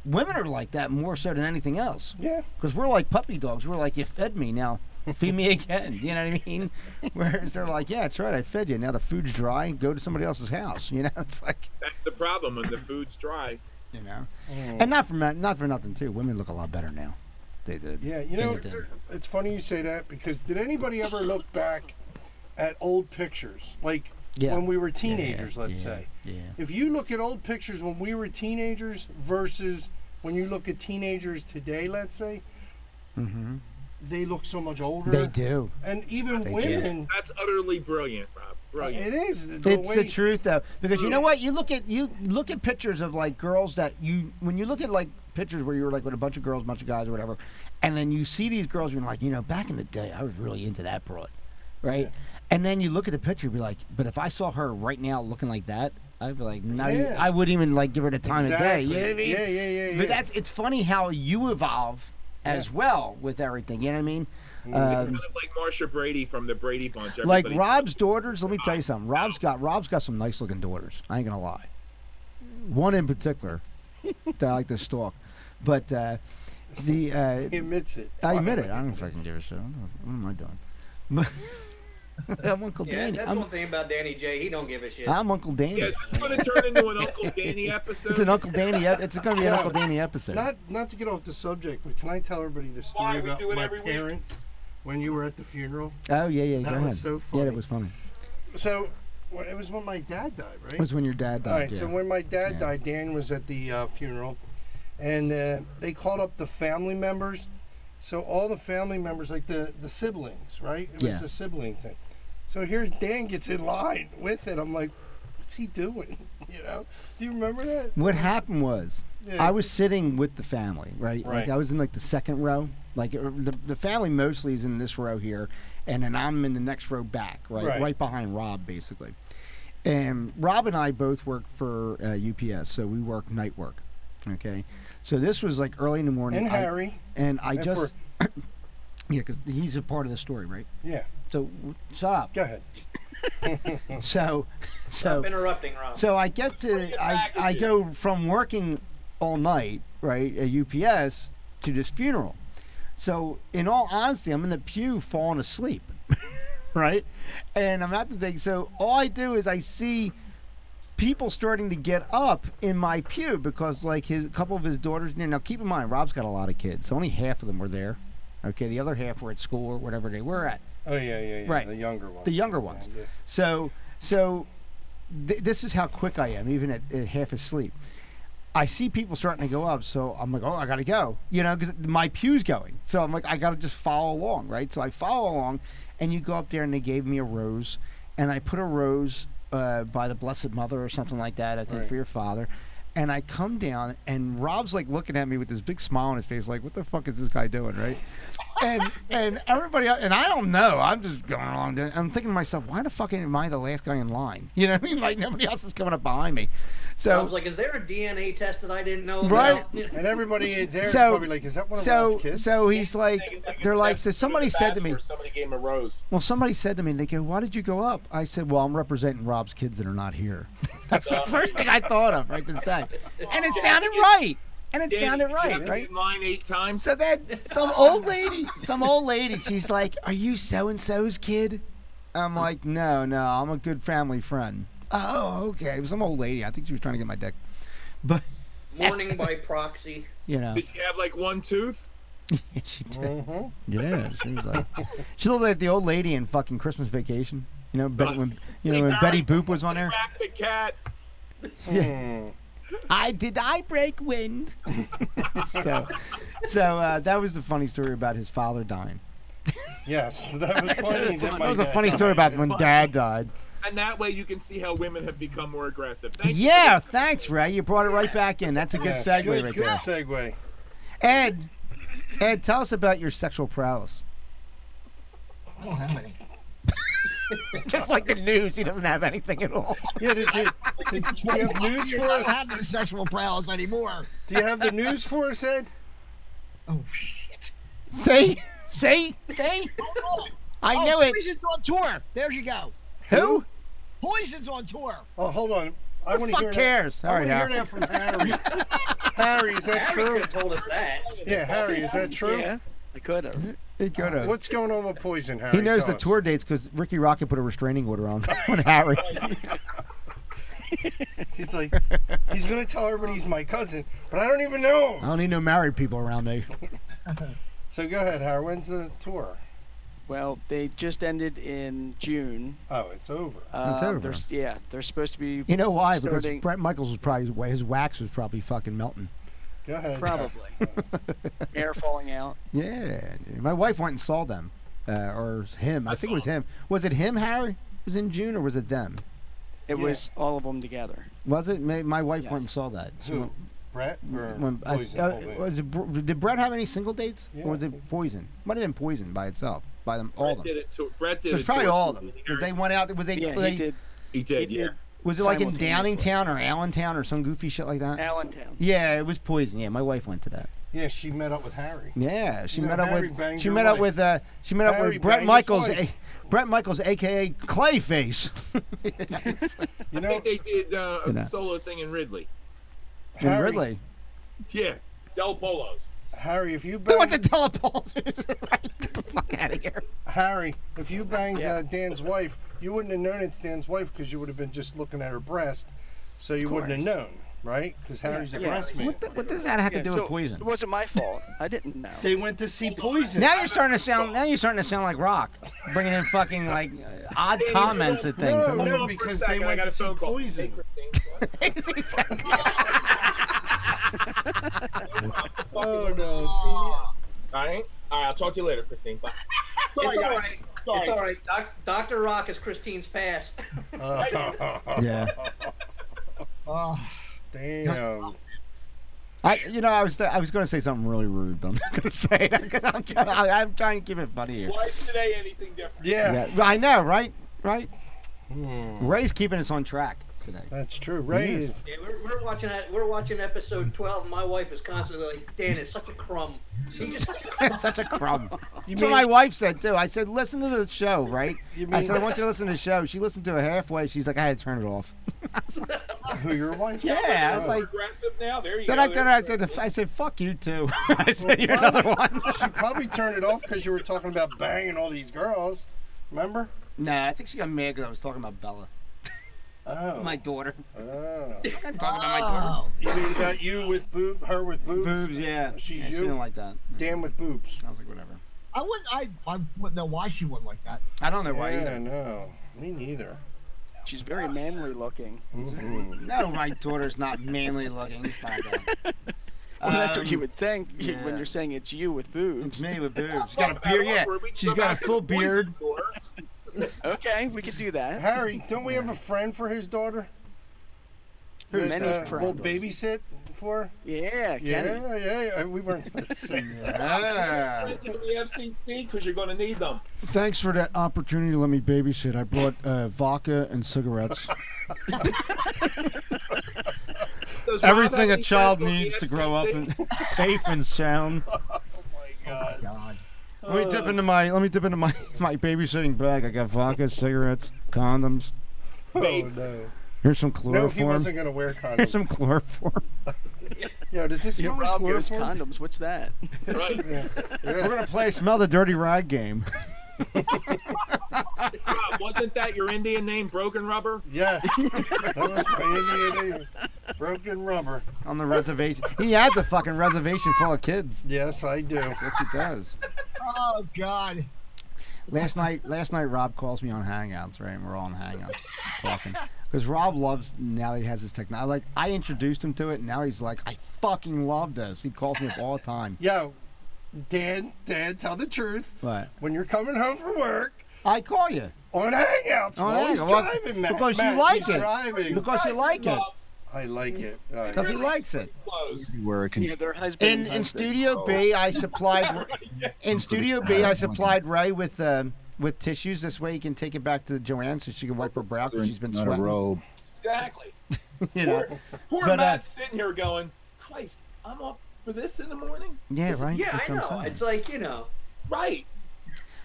[SPEAKER 2] women are like that more so than anything else
[SPEAKER 5] Yeah.
[SPEAKER 2] because we're like puppy dogs. We're like, you fed me now. Feed me again. You know what I mean? [laughs] Whereas they're like, yeah, that's right. I fed you. Now the food's dry. Go to somebody else's house. You know, [laughs] it's like,
[SPEAKER 4] That's the problem when the food's dry.
[SPEAKER 2] you know, and not for ma- not for nothing too. Women look a lot better now. They did.
[SPEAKER 5] Yeah, you
[SPEAKER 2] They
[SPEAKER 5] know,
[SPEAKER 2] did.
[SPEAKER 5] it's funny you say that because did anybody ever look back at old pictures? Like
[SPEAKER 2] Yeah.
[SPEAKER 5] when we were teenagers, let's
[SPEAKER 2] yeah,
[SPEAKER 5] say.
[SPEAKER 2] Yeah.
[SPEAKER 5] If you look at old pictures when we were teenagers versus when you look at teenagers today, let's say,
[SPEAKER 2] Mm-hmm.
[SPEAKER 5] they look so much older.
[SPEAKER 2] They do.
[SPEAKER 5] And even
[SPEAKER 2] They do.
[SPEAKER 5] women,
[SPEAKER 4] That's utterly brilliant, Rob. Brilliant.
[SPEAKER 5] it is the
[SPEAKER 2] It's
[SPEAKER 5] way
[SPEAKER 2] the truth though, because you know what? You look at you look at pictures of like girls that you when you look at like pictures where you were like with a bunch of girls, bunch of guys, or whatever, and then you see these girls, you're like, you know, back in the day, I was really into that broad, right? And then you look at the picture, and be like, but if I saw her right now looking like that, I'd be like, no, you-
[SPEAKER 5] Yeah.
[SPEAKER 2] I wouldn't even like give her the time of
[SPEAKER 5] exactly.
[SPEAKER 2] day. You know what I mean?
[SPEAKER 5] Yeah, yeah, yeah, yeah.
[SPEAKER 2] But that's it's funny how you evolve as well with everything. You know what I mean?
[SPEAKER 4] It's
[SPEAKER 2] Um,
[SPEAKER 4] kind of like Marsha Brady from the Brady Bunch.
[SPEAKER 2] like
[SPEAKER 4] Everybody-
[SPEAKER 2] Rob's daughters. Let me tell you something. Rob's got Rob's got some nice looking daughters. I ain't gonna lie. One in particular [laughs] that I like to stalk, but uh, the
[SPEAKER 5] [laughs]
[SPEAKER 2] uh,
[SPEAKER 5] he admits it.
[SPEAKER 2] I admit
[SPEAKER 5] finally.
[SPEAKER 2] it. I don't fucking give a shit. I don't know. What am I doing? [laughs] But I'm Uncle
[SPEAKER 6] Yeah,
[SPEAKER 2] Danny.
[SPEAKER 6] that's
[SPEAKER 2] I'm,
[SPEAKER 6] one thing about Danny J. He don't give a shit.
[SPEAKER 2] I'm Uncle Danny.
[SPEAKER 4] Yeah, is this going to turn into an Uncle Danny episode?
[SPEAKER 2] It's an Uncle Danny. ep- It's gonna be an
[SPEAKER 5] Yeah.
[SPEAKER 2] Uncle Danny episode.
[SPEAKER 5] Not not to get off the subject, but can I tell everybody the story
[SPEAKER 4] Why? We
[SPEAKER 5] about
[SPEAKER 4] do it
[SPEAKER 5] my
[SPEAKER 4] every week.
[SPEAKER 5] parents when you were at the funeral?
[SPEAKER 2] oh yeah, yeah. Go
[SPEAKER 5] That
[SPEAKER 2] ahead.
[SPEAKER 5] was so
[SPEAKER 2] Yeah,
[SPEAKER 5] funny.
[SPEAKER 2] that was funny.
[SPEAKER 5] So well, it was when my dad died,
[SPEAKER 2] It
[SPEAKER 5] right?
[SPEAKER 2] was when your dad died.
[SPEAKER 5] All right.
[SPEAKER 2] yeah.
[SPEAKER 5] So when my dad
[SPEAKER 2] Yeah.
[SPEAKER 5] died, Dan was at the uh, funeral, and uh, they called up the family members. So all the family members, like the the siblings, right? It was
[SPEAKER 2] Yeah.
[SPEAKER 5] a sibling thing. So here Dan gets in line with it. I'm like, what's he doing? [laughs] You know? Do you remember that?
[SPEAKER 2] What happened was,
[SPEAKER 5] Yeah.
[SPEAKER 2] I was sitting with the family, right? Like
[SPEAKER 5] Right.
[SPEAKER 2] I was in like the second row. Like uh, the, the family mostly is in this row here, and then I'm in the next row back, right? Right,
[SPEAKER 5] Right.
[SPEAKER 2] behind Rob, basically. And Rob and I both work for uh, UPS, so we work night work. Okay, so this was like early in the morning.
[SPEAKER 5] and
[SPEAKER 2] I-
[SPEAKER 5] Harry.
[SPEAKER 2] and I
[SPEAKER 5] and
[SPEAKER 2] just [coughs] yeah, because he's a part of the story, right?
[SPEAKER 5] Yeah.
[SPEAKER 2] So stop.
[SPEAKER 5] Go ahead.
[SPEAKER 2] So, [laughs] so
[SPEAKER 6] Stop interrupting, Rob.
[SPEAKER 2] So I get to I, I go from working all night, right, at UPS to this funeral. So in all honesty, I'm in the pew falling asleep. [laughs] right? And I'm at the thing. So all I do is I see people starting to get up in my pew because like his a couple of his daughters in there. Now keep in mind Rob's got a lot of kids. So only half of them were there. Okay, the other half were at school or whatever they were at.
[SPEAKER 5] Oh yeah, yeah, yeah.
[SPEAKER 2] Right.
[SPEAKER 5] The younger ones.
[SPEAKER 2] The younger
[SPEAKER 5] Yeah,
[SPEAKER 2] ones.
[SPEAKER 5] yeah.
[SPEAKER 2] So, so th- this is how quick I am, even at, at half asleep. I see people starting to go up, so I'm like, oh, I gotta go, you know, because my pew's going. So I'm like, I gotta just follow along, right? So I follow along, and you go up there, and they gave me a rose, and I put a rose uh, by the Blessed Mother or something like that, I think,
[SPEAKER 5] Right.
[SPEAKER 2] for your father. And I come down, and Rob's like looking at me with this big smile on his face, like, what the fuck is this guy doing, right? and and everybody and I don't know. I'm just going along. doing- I'm thinking to myself, why the fuck am I the last guy in line? [laughs] You know what I mean? Like nobody else is coming up behind me.
[SPEAKER 6] I
[SPEAKER 2] So
[SPEAKER 6] was like, is there a DNA test that I didn't know about?
[SPEAKER 2] Right.
[SPEAKER 6] [laughs]
[SPEAKER 5] And
[SPEAKER 2] [laughs]
[SPEAKER 5] everybody there is
[SPEAKER 2] So-
[SPEAKER 5] probably like, is that one of
[SPEAKER 2] so
[SPEAKER 5] Rob's kids?
[SPEAKER 2] so he's like, they're like, so somebody said to me.
[SPEAKER 4] Somebody gave him a rose.
[SPEAKER 2] Well, somebody said to me, they go, why did you go up? I said, well, I'm representing Rob's kids that are not here. [laughs] That's the first thing I thought of right to say, and it sounded right. And it sounded right, right?
[SPEAKER 4] In line eight times.
[SPEAKER 2] So then some old lady, some old lady, she's like, "Are you so and so's kid?" I'm like, "No, no, I'm a good family friend." Oh, okay. It was some old lady. I think she was trying to get my dick, but
[SPEAKER 6] Mourning by proxy.
[SPEAKER 2] you know,
[SPEAKER 4] Did you have like one tooth?
[SPEAKER 2] [laughs] she did.
[SPEAKER 5] Mhm.
[SPEAKER 2] Yeah, she was like, she looked like the old lady in fucking Christmas Vacation. You know, Bet when you know when Betty Boop was on there.
[SPEAKER 4] Crack the cat.
[SPEAKER 5] Mm.
[SPEAKER 2] I did I break wind. [laughs] so, so uh, that was the funny story about his father dying.
[SPEAKER 5] Yes, [laughs] that
[SPEAKER 2] [laughs]
[SPEAKER 5] was funny.
[SPEAKER 2] That was a funny story about when Dad died.
[SPEAKER 4] And that way you can see how women have become more aggressive. Thank you.
[SPEAKER 2] Yeah, thanks, Ray. You brought it right back in. That's a good segue
[SPEAKER 5] good,
[SPEAKER 2] right
[SPEAKER 5] good
[SPEAKER 2] there.
[SPEAKER 5] segue.
[SPEAKER 2] Ed, Ed, tell us about your sexual prowess.
[SPEAKER 3] I don't have any.
[SPEAKER 2] [laughs] Just like the news, he doesn't have anything at all.
[SPEAKER 5] Yeah, did you, did, do you have news for
[SPEAKER 3] I don't
[SPEAKER 5] us?
[SPEAKER 3] have any sexual prowess anymore.
[SPEAKER 5] Do you have the news for us, Ed?
[SPEAKER 3] Oh shit!
[SPEAKER 2] See, see, see. I knew
[SPEAKER 3] oh,
[SPEAKER 2] it.
[SPEAKER 3] Poison's on tour. There you go.
[SPEAKER 2] Who?
[SPEAKER 3] Poison's on tour.
[SPEAKER 5] Oh, hold on. I want to hear
[SPEAKER 2] Fuck cares.
[SPEAKER 5] that.
[SPEAKER 2] All
[SPEAKER 5] I want
[SPEAKER 2] right,
[SPEAKER 5] to hear
[SPEAKER 2] Al.
[SPEAKER 5] that from Harry.
[SPEAKER 2] [laughs]
[SPEAKER 5] Harry, is that
[SPEAKER 6] Harry
[SPEAKER 5] true?
[SPEAKER 6] could have told us that.
[SPEAKER 5] Yeah, Harry, is that true?
[SPEAKER 7] Yeah, I could have.
[SPEAKER 2] He could have.
[SPEAKER 5] What's going on with poison, Harry?
[SPEAKER 2] He knows
[SPEAKER 5] Tell
[SPEAKER 2] the
[SPEAKER 5] us.
[SPEAKER 2] tour dates because Ricky Rocket put a restraining order on [laughs] on Harry.
[SPEAKER 5] He's
[SPEAKER 2] [laughs]
[SPEAKER 5] like, he's gonna tell everybody he's my cousin, but I don't even know.
[SPEAKER 2] I don't need no married people around me.
[SPEAKER 5] So go ahead, Harry. When's the tour?
[SPEAKER 7] Well, they just ended in June.
[SPEAKER 5] Oh, it's over.
[SPEAKER 7] Uh,
[SPEAKER 2] It's over.
[SPEAKER 7] they're s- yeah, they're supposed to be
[SPEAKER 2] You know why? Because
[SPEAKER 7] Starting-
[SPEAKER 2] Brett Michaels was probably his wax was probably fucking melting.
[SPEAKER 5] Go ahead.
[SPEAKER 7] probably air falling out.
[SPEAKER 2] Yeah, dude. my wife went and saw them, uh, or him. I, think it was him. Was it him, Harry? Was in June or was it them?
[SPEAKER 7] It
[SPEAKER 5] Yeah.
[SPEAKER 7] was all of them together.
[SPEAKER 2] Was it? May, my wife went and
[SPEAKER 7] Yes.
[SPEAKER 2] saw that. She
[SPEAKER 5] Who?
[SPEAKER 2] went-
[SPEAKER 5] Brett or
[SPEAKER 2] went- I-
[SPEAKER 5] poison?
[SPEAKER 2] uh,
[SPEAKER 5] Oh, wait.
[SPEAKER 2] was it, Br- did Brett have any single dates?
[SPEAKER 5] Yeah,
[SPEAKER 2] or was
[SPEAKER 5] I
[SPEAKER 2] it
[SPEAKER 5] think-
[SPEAKER 2] Poison? Might have been Poison by itself, by them all.
[SPEAKER 4] Brett
[SPEAKER 2] Of
[SPEAKER 4] did
[SPEAKER 2] them.
[SPEAKER 4] it to Brett did
[SPEAKER 2] It
[SPEAKER 4] it.
[SPEAKER 2] was probably
[SPEAKER 4] to-
[SPEAKER 2] all of them because they went out. Was they?
[SPEAKER 7] Yeah,
[SPEAKER 2] they-
[SPEAKER 7] he did.
[SPEAKER 4] He did.
[SPEAKER 7] he
[SPEAKER 4] Yeah.
[SPEAKER 7] did
[SPEAKER 2] was it like in
[SPEAKER 7] simultaneously.
[SPEAKER 2] Downingtown or Allentown or some goofy shit like that?
[SPEAKER 7] Allentown.
[SPEAKER 2] yeah, it was Poison. Yeah, my wife went to that.
[SPEAKER 5] Yeah, she met up with Harry.
[SPEAKER 2] Yeah, she
[SPEAKER 5] You know,
[SPEAKER 2] met up
[SPEAKER 5] Harry
[SPEAKER 2] with
[SPEAKER 5] banged
[SPEAKER 2] she
[SPEAKER 5] your
[SPEAKER 2] met up
[SPEAKER 5] wife.
[SPEAKER 2] with uh, she met up
[SPEAKER 5] Harry
[SPEAKER 2] with Brett
[SPEAKER 5] banged his
[SPEAKER 2] Michaels, a,
[SPEAKER 5] wife.
[SPEAKER 2] Brett Michaels, aka Clayface. [laughs]
[SPEAKER 5] You
[SPEAKER 4] I
[SPEAKER 5] know,
[SPEAKER 4] think they did uh,
[SPEAKER 2] You know.
[SPEAKER 4] a solo thing in Ridley.
[SPEAKER 2] and
[SPEAKER 5] Harry-
[SPEAKER 2] Ridley.
[SPEAKER 4] Yeah. Del Polos.
[SPEAKER 5] Harry, if you
[SPEAKER 2] They
[SPEAKER 5] bang,
[SPEAKER 2] went to telepulse. [laughs] Get the fuck out of here.
[SPEAKER 5] Harry, if you banged
[SPEAKER 7] Yeah.
[SPEAKER 5] uh, Dan's wife, you wouldn't have known it's Dan's wife because you would have been just looking at her breast, so you wouldn't have known, right? Because Harry's a
[SPEAKER 7] Yeah.
[SPEAKER 5] breast man.
[SPEAKER 2] What, the, what does that have to
[SPEAKER 7] Yeah,
[SPEAKER 2] do
[SPEAKER 7] so
[SPEAKER 2] with poison?
[SPEAKER 7] It wasn't my fault. I didn't know.
[SPEAKER 5] They went to see Poison.
[SPEAKER 2] Now you're starting to sound. Now you're starting to sound like Rock, bringing in fucking like uh, odd comments at things.
[SPEAKER 5] No,
[SPEAKER 2] I'm [laughs]
[SPEAKER 5] no,
[SPEAKER 2] like,
[SPEAKER 4] Hold on for a
[SPEAKER 5] because
[SPEAKER 4] second,
[SPEAKER 5] they
[SPEAKER 4] I
[SPEAKER 5] went
[SPEAKER 4] got a
[SPEAKER 5] to see
[SPEAKER 4] phone call.
[SPEAKER 5] Poison.
[SPEAKER 4] Hey, Christine, what?
[SPEAKER 5] Oh no!
[SPEAKER 4] All right. All right. I'll talk to you later,
[SPEAKER 2] [laughs]
[SPEAKER 4] Christine. Bye.
[SPEAKER 6] It's all right. It's
[SPEAKER 4] Sorry.
[SPEAKER 6] all right. Doc, Dr. Rock is Christine's past.
[SPEAKER 2] [laughs]
[SPEAKER 5] Oh,
[SPEAKER 2] yeah.
[SPEAKER 3] Oh,
[SPEAKER 5] damn.
[SPEAKER 2] I, you know, I was I was going to say something really rude, but I'm not going to [laughs] say it because I'm trying. I, I'm trying to keep it funny here.
[SPEAKER 4] Why is today anything different?
[SPEAKER 5] Yeah.
[SPEAKER 2] Yeah, I know, right? Right.
[SPEAKER 5] Hmm.
[SPEAKER 2] Ray's keeping us on track. today. [laughs]
[SPEAKER 5] That's true. Ray
[SPEAKER 2] Yes.
[SPEAKER 5] is.
[SPEAKER 6] [laughs] Yeah, we're, we're watching that. We're watching episode twelve. And my wife is constantly like, "Dan is such a crumb. He's just such a crumb."
[SPEAKER 2] Such a [laughs] crumb.
[SPEAKER 5] You
[SPEAKER 2] That's what
[SPEAKER 5] mean,
[SPEAKER 2] my wife said too. I said, listen to the show, [laughs] right?
[SPEAKER 5] you
[SPEAKER 2] I said, I
[SPEAKER 5] mean
[SPEAKER 2] [laughs] want you to listen to the show. She listened to it halfway. She's like, I had to turn it off.
[SPEAKER 5] who your wife?
[SPEAKER 2] Yeah, I was
[SPEAKER 5] Oh.
[SPEAKER 2] like,
[SPEAKER 4] Progressive now. There you
[SPEAKER 2] then
[SPEAKER 4] go.
[SPEAKER 2] I turned. I said, I said, fuck you too. [laughs] I said, you're another one.
[SPEAKER 5] She probably turned it off because you were talking about banging all these girls. Remember?
[SPEAKER 2] [laughs] Nah, I think she got mad because I was talking about Bella,
[SPEAKER 5] Oh.
[SPEAKER 2] my daughter. [laughs]
[SPEAKER 5] oh.
[SPEAKER 2] I'm not talking about my daughter.
[SPEAKER 3] oh.
[SPEAKER 5] You mean about you with boob, her with boobs?
[SPEAKER 2] Boobs, yeah.
[SPEAKER 5] She's
[SPEAKER 2] Oh. yeah, She
[SPEAKER 5] you?
[SPEAKER 2] didn't like that.
[SPEAKER 5] Dan with boobs.
[SPEAKER 2] I was like, whatever.
[SPEAKER 3] I wouldn't. I I wouldn't know why she wouldn't like that.
[SPEAKER 2] I don't know why
[SPEAKER 5] Yeah,
[SPEAKER 2] either.
[SPEAKER 5] no. Me neither.
[SPEAKER 7] She's very manly looking.
[SPEAKER 5] Mhm.
[SPEAKER 2] No, my daughter's not manly looking. It's not
[SPEAKER 4] [laughs]
[SPEAKER 2] that.
[SPEAKER 7] Well, [laughs] that's what you
[SPEAKER 2] Um,
[SPEAKER 7] would think you-
[SPEAKER 2] yeah.
[SPEAKER 7] when you're saying it's you with boobs.
[SPEAKER 2] It's me with boobs. She's got a beard. Yeah,
[SPEAKER 4] Awkward. We can
[SPEAKER 2] she's
[SPEAKER 4] go
[SPEAKER 2] got a
[SPEAKER 4] back to the
[SPEAKER 2] full
[SPEAKER 4] Poison [laughs]
[SPEAKER 2] beard.
[SPEAKER 4] Tour.
[SPEAKER 7] Okay, we could do that.
[SPEAKER 5] Harry, don't we have a friend for his daughter?
[SPEAKER 7] Many
[SPEAKER 5] uh, will
[SPEAKER 7] friends.
[SPEAKER 5] babysit for? her?
[SPEAKER 7] Yeah, Kenny.
[SPEAKER 5] Yeah, yeah, yeah. We weren't supposed to say that.
[SPEAKER 2] Yeah.
[SPEAKER 4] Get to the FCC because you're going to need them.
[SPEAKER 2] Thanks for that opportunity to let me babysit. I brought uh, vodka and
[SPEAKER 4] [laughs]
[SPEAKER 2] cigarettes.
[SPEAKER 4] Does Rob
[SPEAKER 2] Everything
[SPEAKER 4] have
[SPEAKER 2] a
[SPEAKER 4] any
[SPEAKER 2] child
[SPEAKER 4] friends on the
[SPEAKER 2] needs to grow up
[SPEAKER 4] FCC?
[SPEAKER 2] and [laughs] safe and sound.
[SPEAKER 5] God.
[SPEAKER 3] God.
[SPEAKER 2] Let me dip into my let me dip into my, [laughs] my babysitting bag. I got vodka, cigarettes, condoms.
[SPEAKER 5] Oh,
[SPEAKER 4] Babe.
[SPEAKER 5] no.
[SPEAKER 2] Here's some
[SPEAKER 5] No, he
[SPEAKER 2] chloroform.
[SPEAKER 5] wasn't going to wear
[SPEAKER 2] [laughs] Here's
[SPEAKER 5] condoms.
[SPEAKER 2] some
[SPEAKER 4] [laughs]
[SPEAKER 2] chloroform.
[SPEAKER 5] Yo, does this
[SPEAKER 7] Yeah,
[SPEAKER 5] smell like
[SPEAKER 7] Rob goes
[SPEAKER 5] chloroform?
[SPEAKER 7] condoms. What's that?
[SPEAKER 4] Right.
[SPEAKER 2] [laughs]
[SPEAKER 5] Yeah.
[SPEAKER 2] We're
[SPEAKER 5] Yeah.
[SPEAKER 2] gonna play smell the dirty rag game.
[SPEAKER 4] Rob, wasn't that your Indian name, Broken Rubber?
[SPEAKER 5] [laughs] Yes. That was my Indian Broken rubber.
[SPEAKER 2] On the reservation. He has a fucking reservation full of kids.
[SPEAKER 5] Yes, I do.
[SPEAKER 2] Yes he does.
[SPEAKER 3] Oh God.
[SPEAKER 2] Last night, last night, Rob calls me on Hangouts, right? And we're all on Hangouts talking because Rob loves now that he has this technology. Like I introduced him to it, and now he's like, I fucking love this. He calls me up all the
[SPEAKER 8] [laughs]
[SPEAKER 2] time.
[SPEAKER 5] Yo, Dan, Dan, tell the truth.
[SPEAKER 2] But
[SPEAKER 5] When you're coming home from work,
[SPEAKER 2] I call you
[SPEAKER 5] on Hangouts,
[SPEAKER 2] On
[SPEAKER 5] while he's
[SPEAKER 2] Hangouts, well,
[SPEAKER 5] driving, Matt.
[SPEAKER 2] because you
[SPEAKER 5] Matt,
[SPEAKER 2] like
[SPEAKER 5] he's
[SPEAKER 2] it.
[SPEAKER 5] driving.
[SPEAKER 2] because you like it,
[SPEAKER 5] I like it. All right.
[SPEAKER 2] because he likes it.
[SPEAKER 4] Close.
[SPEAKER 8] Where it can
[SPEAKER 7] [laughs] Yeah, their husband.
[SPEAKER 2] In
[SPEAKER 7] and
[SPEAKER 2] in
[SPEAKER 7] husband.
[SPEAKER 2] Studio B, I
[SPEAKER 8] [laughs]
[SPEAKER 2] supplied in Studio B, I supplied Ray with um, with tissues. This way, he can take it back to Joanne so she can wipe her brow because she's been
[SPEAKER 8] not a
[SPEAKER 2] sweating.
[SPEAKER 8] robe.
[SPEAKER 4] Exactly.
[SPEAKER 2] [laughs] You know,
[SPEAKER 4] Poor, poor
[SPEAKER 2] But, uh,
[SPEAKER 4] Matt's sitting here going, Christ, I'm up for this in the morning?
[SPEAKER 2] yeah, right.
[SPEAKER 6] yeah,
[SPEAKER 2] That's
[SPEAKER 6] I
[SPEAKER 2] what
[SPEAKER 6] know.
[SPEAKER 2] I'm saying.
[SPEAKER 6] It's like you know.
[SPEAKER 4] Right.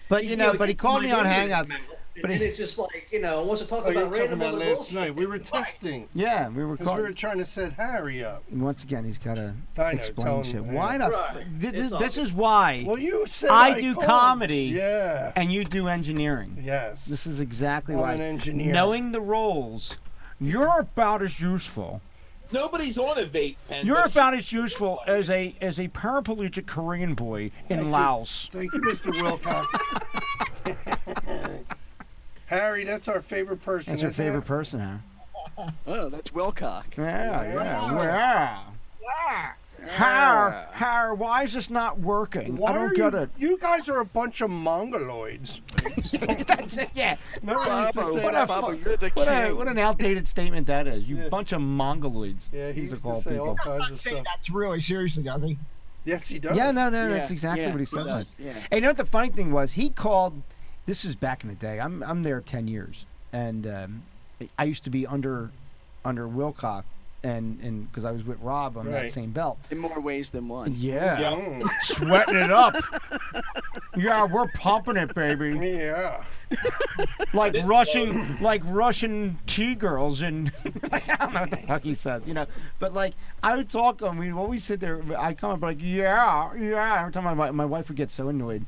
[SPEAKER 2] But you know, but he
[SPEAKER 6] gets
[SPEAKER 2] called
[SPEAKER 6] my
[SPEAKER 2] me on
[SPEAKER 6] dinner in his
[SPEAKER 2] Hangouts.
[SPEAKER 6] mouth,
[SPEAKER 2] but
[SPEAKER 6] and
[SPEAKER 2] he-
[SPEAKER 6] then it's just like you know, wants to talk
[SPEAKER 5] Oh, you
[SPEAKER 6] about
[SPEAKER 5] were talking
[SPEAKER 6] random
[SPEAKER 5] about
[SPEAKER 6] other
[SPEAKER 5] last
[SPEAKER 6] bullshit.
[SPEAKER 5] night. We were texting
[SPEAKER 2] Yeah, we were
[SPEAKER 5] because we
[SPEAKER 2] calling.
[SPEAKER 5] were trying to set Harry up.
[SPEAKER 2] Once again, he's got to
[SPEAKER 5] I know. tell
[SPEAKER 2] explain
[SPEAKER 5] him,
[SPEAKER 2] shit.
[SPEAKER 5] yeah.
[SPEAKER 2] Why the? F-
[SPEAKER 6] Right.
[SPEAKER 2] this,
[SPEAKER 6] It's
[SPEAKER 2] is- this
[SPEAKER 6] obvious.
[SPEAKER 2] is why,
[SPEAKER 5] Well, you said
[SPEAKER 2] I do
[SPEAKER 5] called.
[SPEAKER 2] comedy.
[SPEAKER 5] Yeah.
[SPEAKER 2] and you do engineering.
[SPEAKER 5] Yes.
[SPEAKER 2] This is exactly
[SPEAKER 5] I'm
[SPEAKER 2] why.
[SPEAKER 5] an engineer.
[SPEAKER 2] Knowing the roles, you're about as useful.
[SPEAKER 4] Nobody's on a vape pen.
[SPEAKER 2] You're
[SPEAKER 4] but
[SPEAKER 2] about as useful as a as a paraplegic Korean boy in Laos.
[SPEAKER 5] Thank you, Mr. Wilcock. [laughs] Harry, that's our favorite person.
[SPEAKER 2] That's your
[SPEAKER 5] isn't
[SPEAKER 2] favorite
[SPEAKER 5] it?
[SPEAKER 2] person, huh?
[SPEAKER 7] Oh, that's Wilcock.
[SPEAKER 2] Yeah, yeah,
[SPEAKER 5] Yeah.
[SPEAKER 2] yeah. How, how, why is this not working?
[SPEAKER 5] Why
[SPEAKER 2] I don't
[SPEAKER 5] are
[SPEAKER 2] get
[SPEAKER 5] you,
[SPEAKER 2] it.
[SPEAKER 5] you guys are a bunch of mongoloids. [laughs]
[SPEAKER 2] That's it, yeah.
[SPEAKER 5] Remember I used to
[SPEAKER 7] Bobo,
[SPEAKER 5] say
[SPEAKER 2] what
[SPEAKER 5] that?
[SPEAKER 2] a
[SPEAKER 7] Bobo,
[SPEAKER 2] fu-
[SPEAKER 7] you're the
[SPEAKER 2] What, a,
[SPEAKER 7] king.
[SPEAKER 2] what an outdated statement that is. You
[SPEAKER 5] Yeah.
[SPEAKER 2] bunch of mongoloids.
[SPEAKER 5] Yeah, he
[SPEAKER 2] These are
[SPEAKER 5] used to
[SPEAKER 2] called
[SPEAKER 5] say all
[SPEAKER 2] people.
[SPEAKER 5] kinds
[SPEAKER 3] Not
[SPEAKER 5] of
[SPEAKER 3] saying
[SPEAKER 5] stuff.
[SPEAKER 3] that's really seriously, does he?
[SPEAKER 5] Yes, he does.
[SPEAKER 2] Yeah, no, no,
[SPEAKER 7] Yeah,
[SPEAKER 2] that's exactly
[SPEAKER 7] yeah,
[SPEAKER 2] what he
[SPEAKER 7] he
[SPEAKER 2] said.
[SPEAKER 7] does, yeah.
[SPEAKER 2] And you know what the funny thing was? He called. This is back in the day. I'm I'm there ten years, and um, I used to be under under Wilcock, and and because I was with Rob on that
[SPEAKER 5] Right.
[SPEAKER 2] same belt.
[SPEAKER 7] In more ways than one.
[SPEAKER 2] Yeah,
[SPEAKER 5] Mm,
[SPEAKER 2] sweating it up. [laughs] yeah, we're pumping it, baby.
[SPEAKER 5] yeah.
[SPEAKER 2] Like Russian, like Russian tea girls, and [laughs] I don't know what the fuck he says, you know. But like, I would talk to him. We'd always sit there. I come up like, yeah, yeah. Every time my my wife would get so annoyed.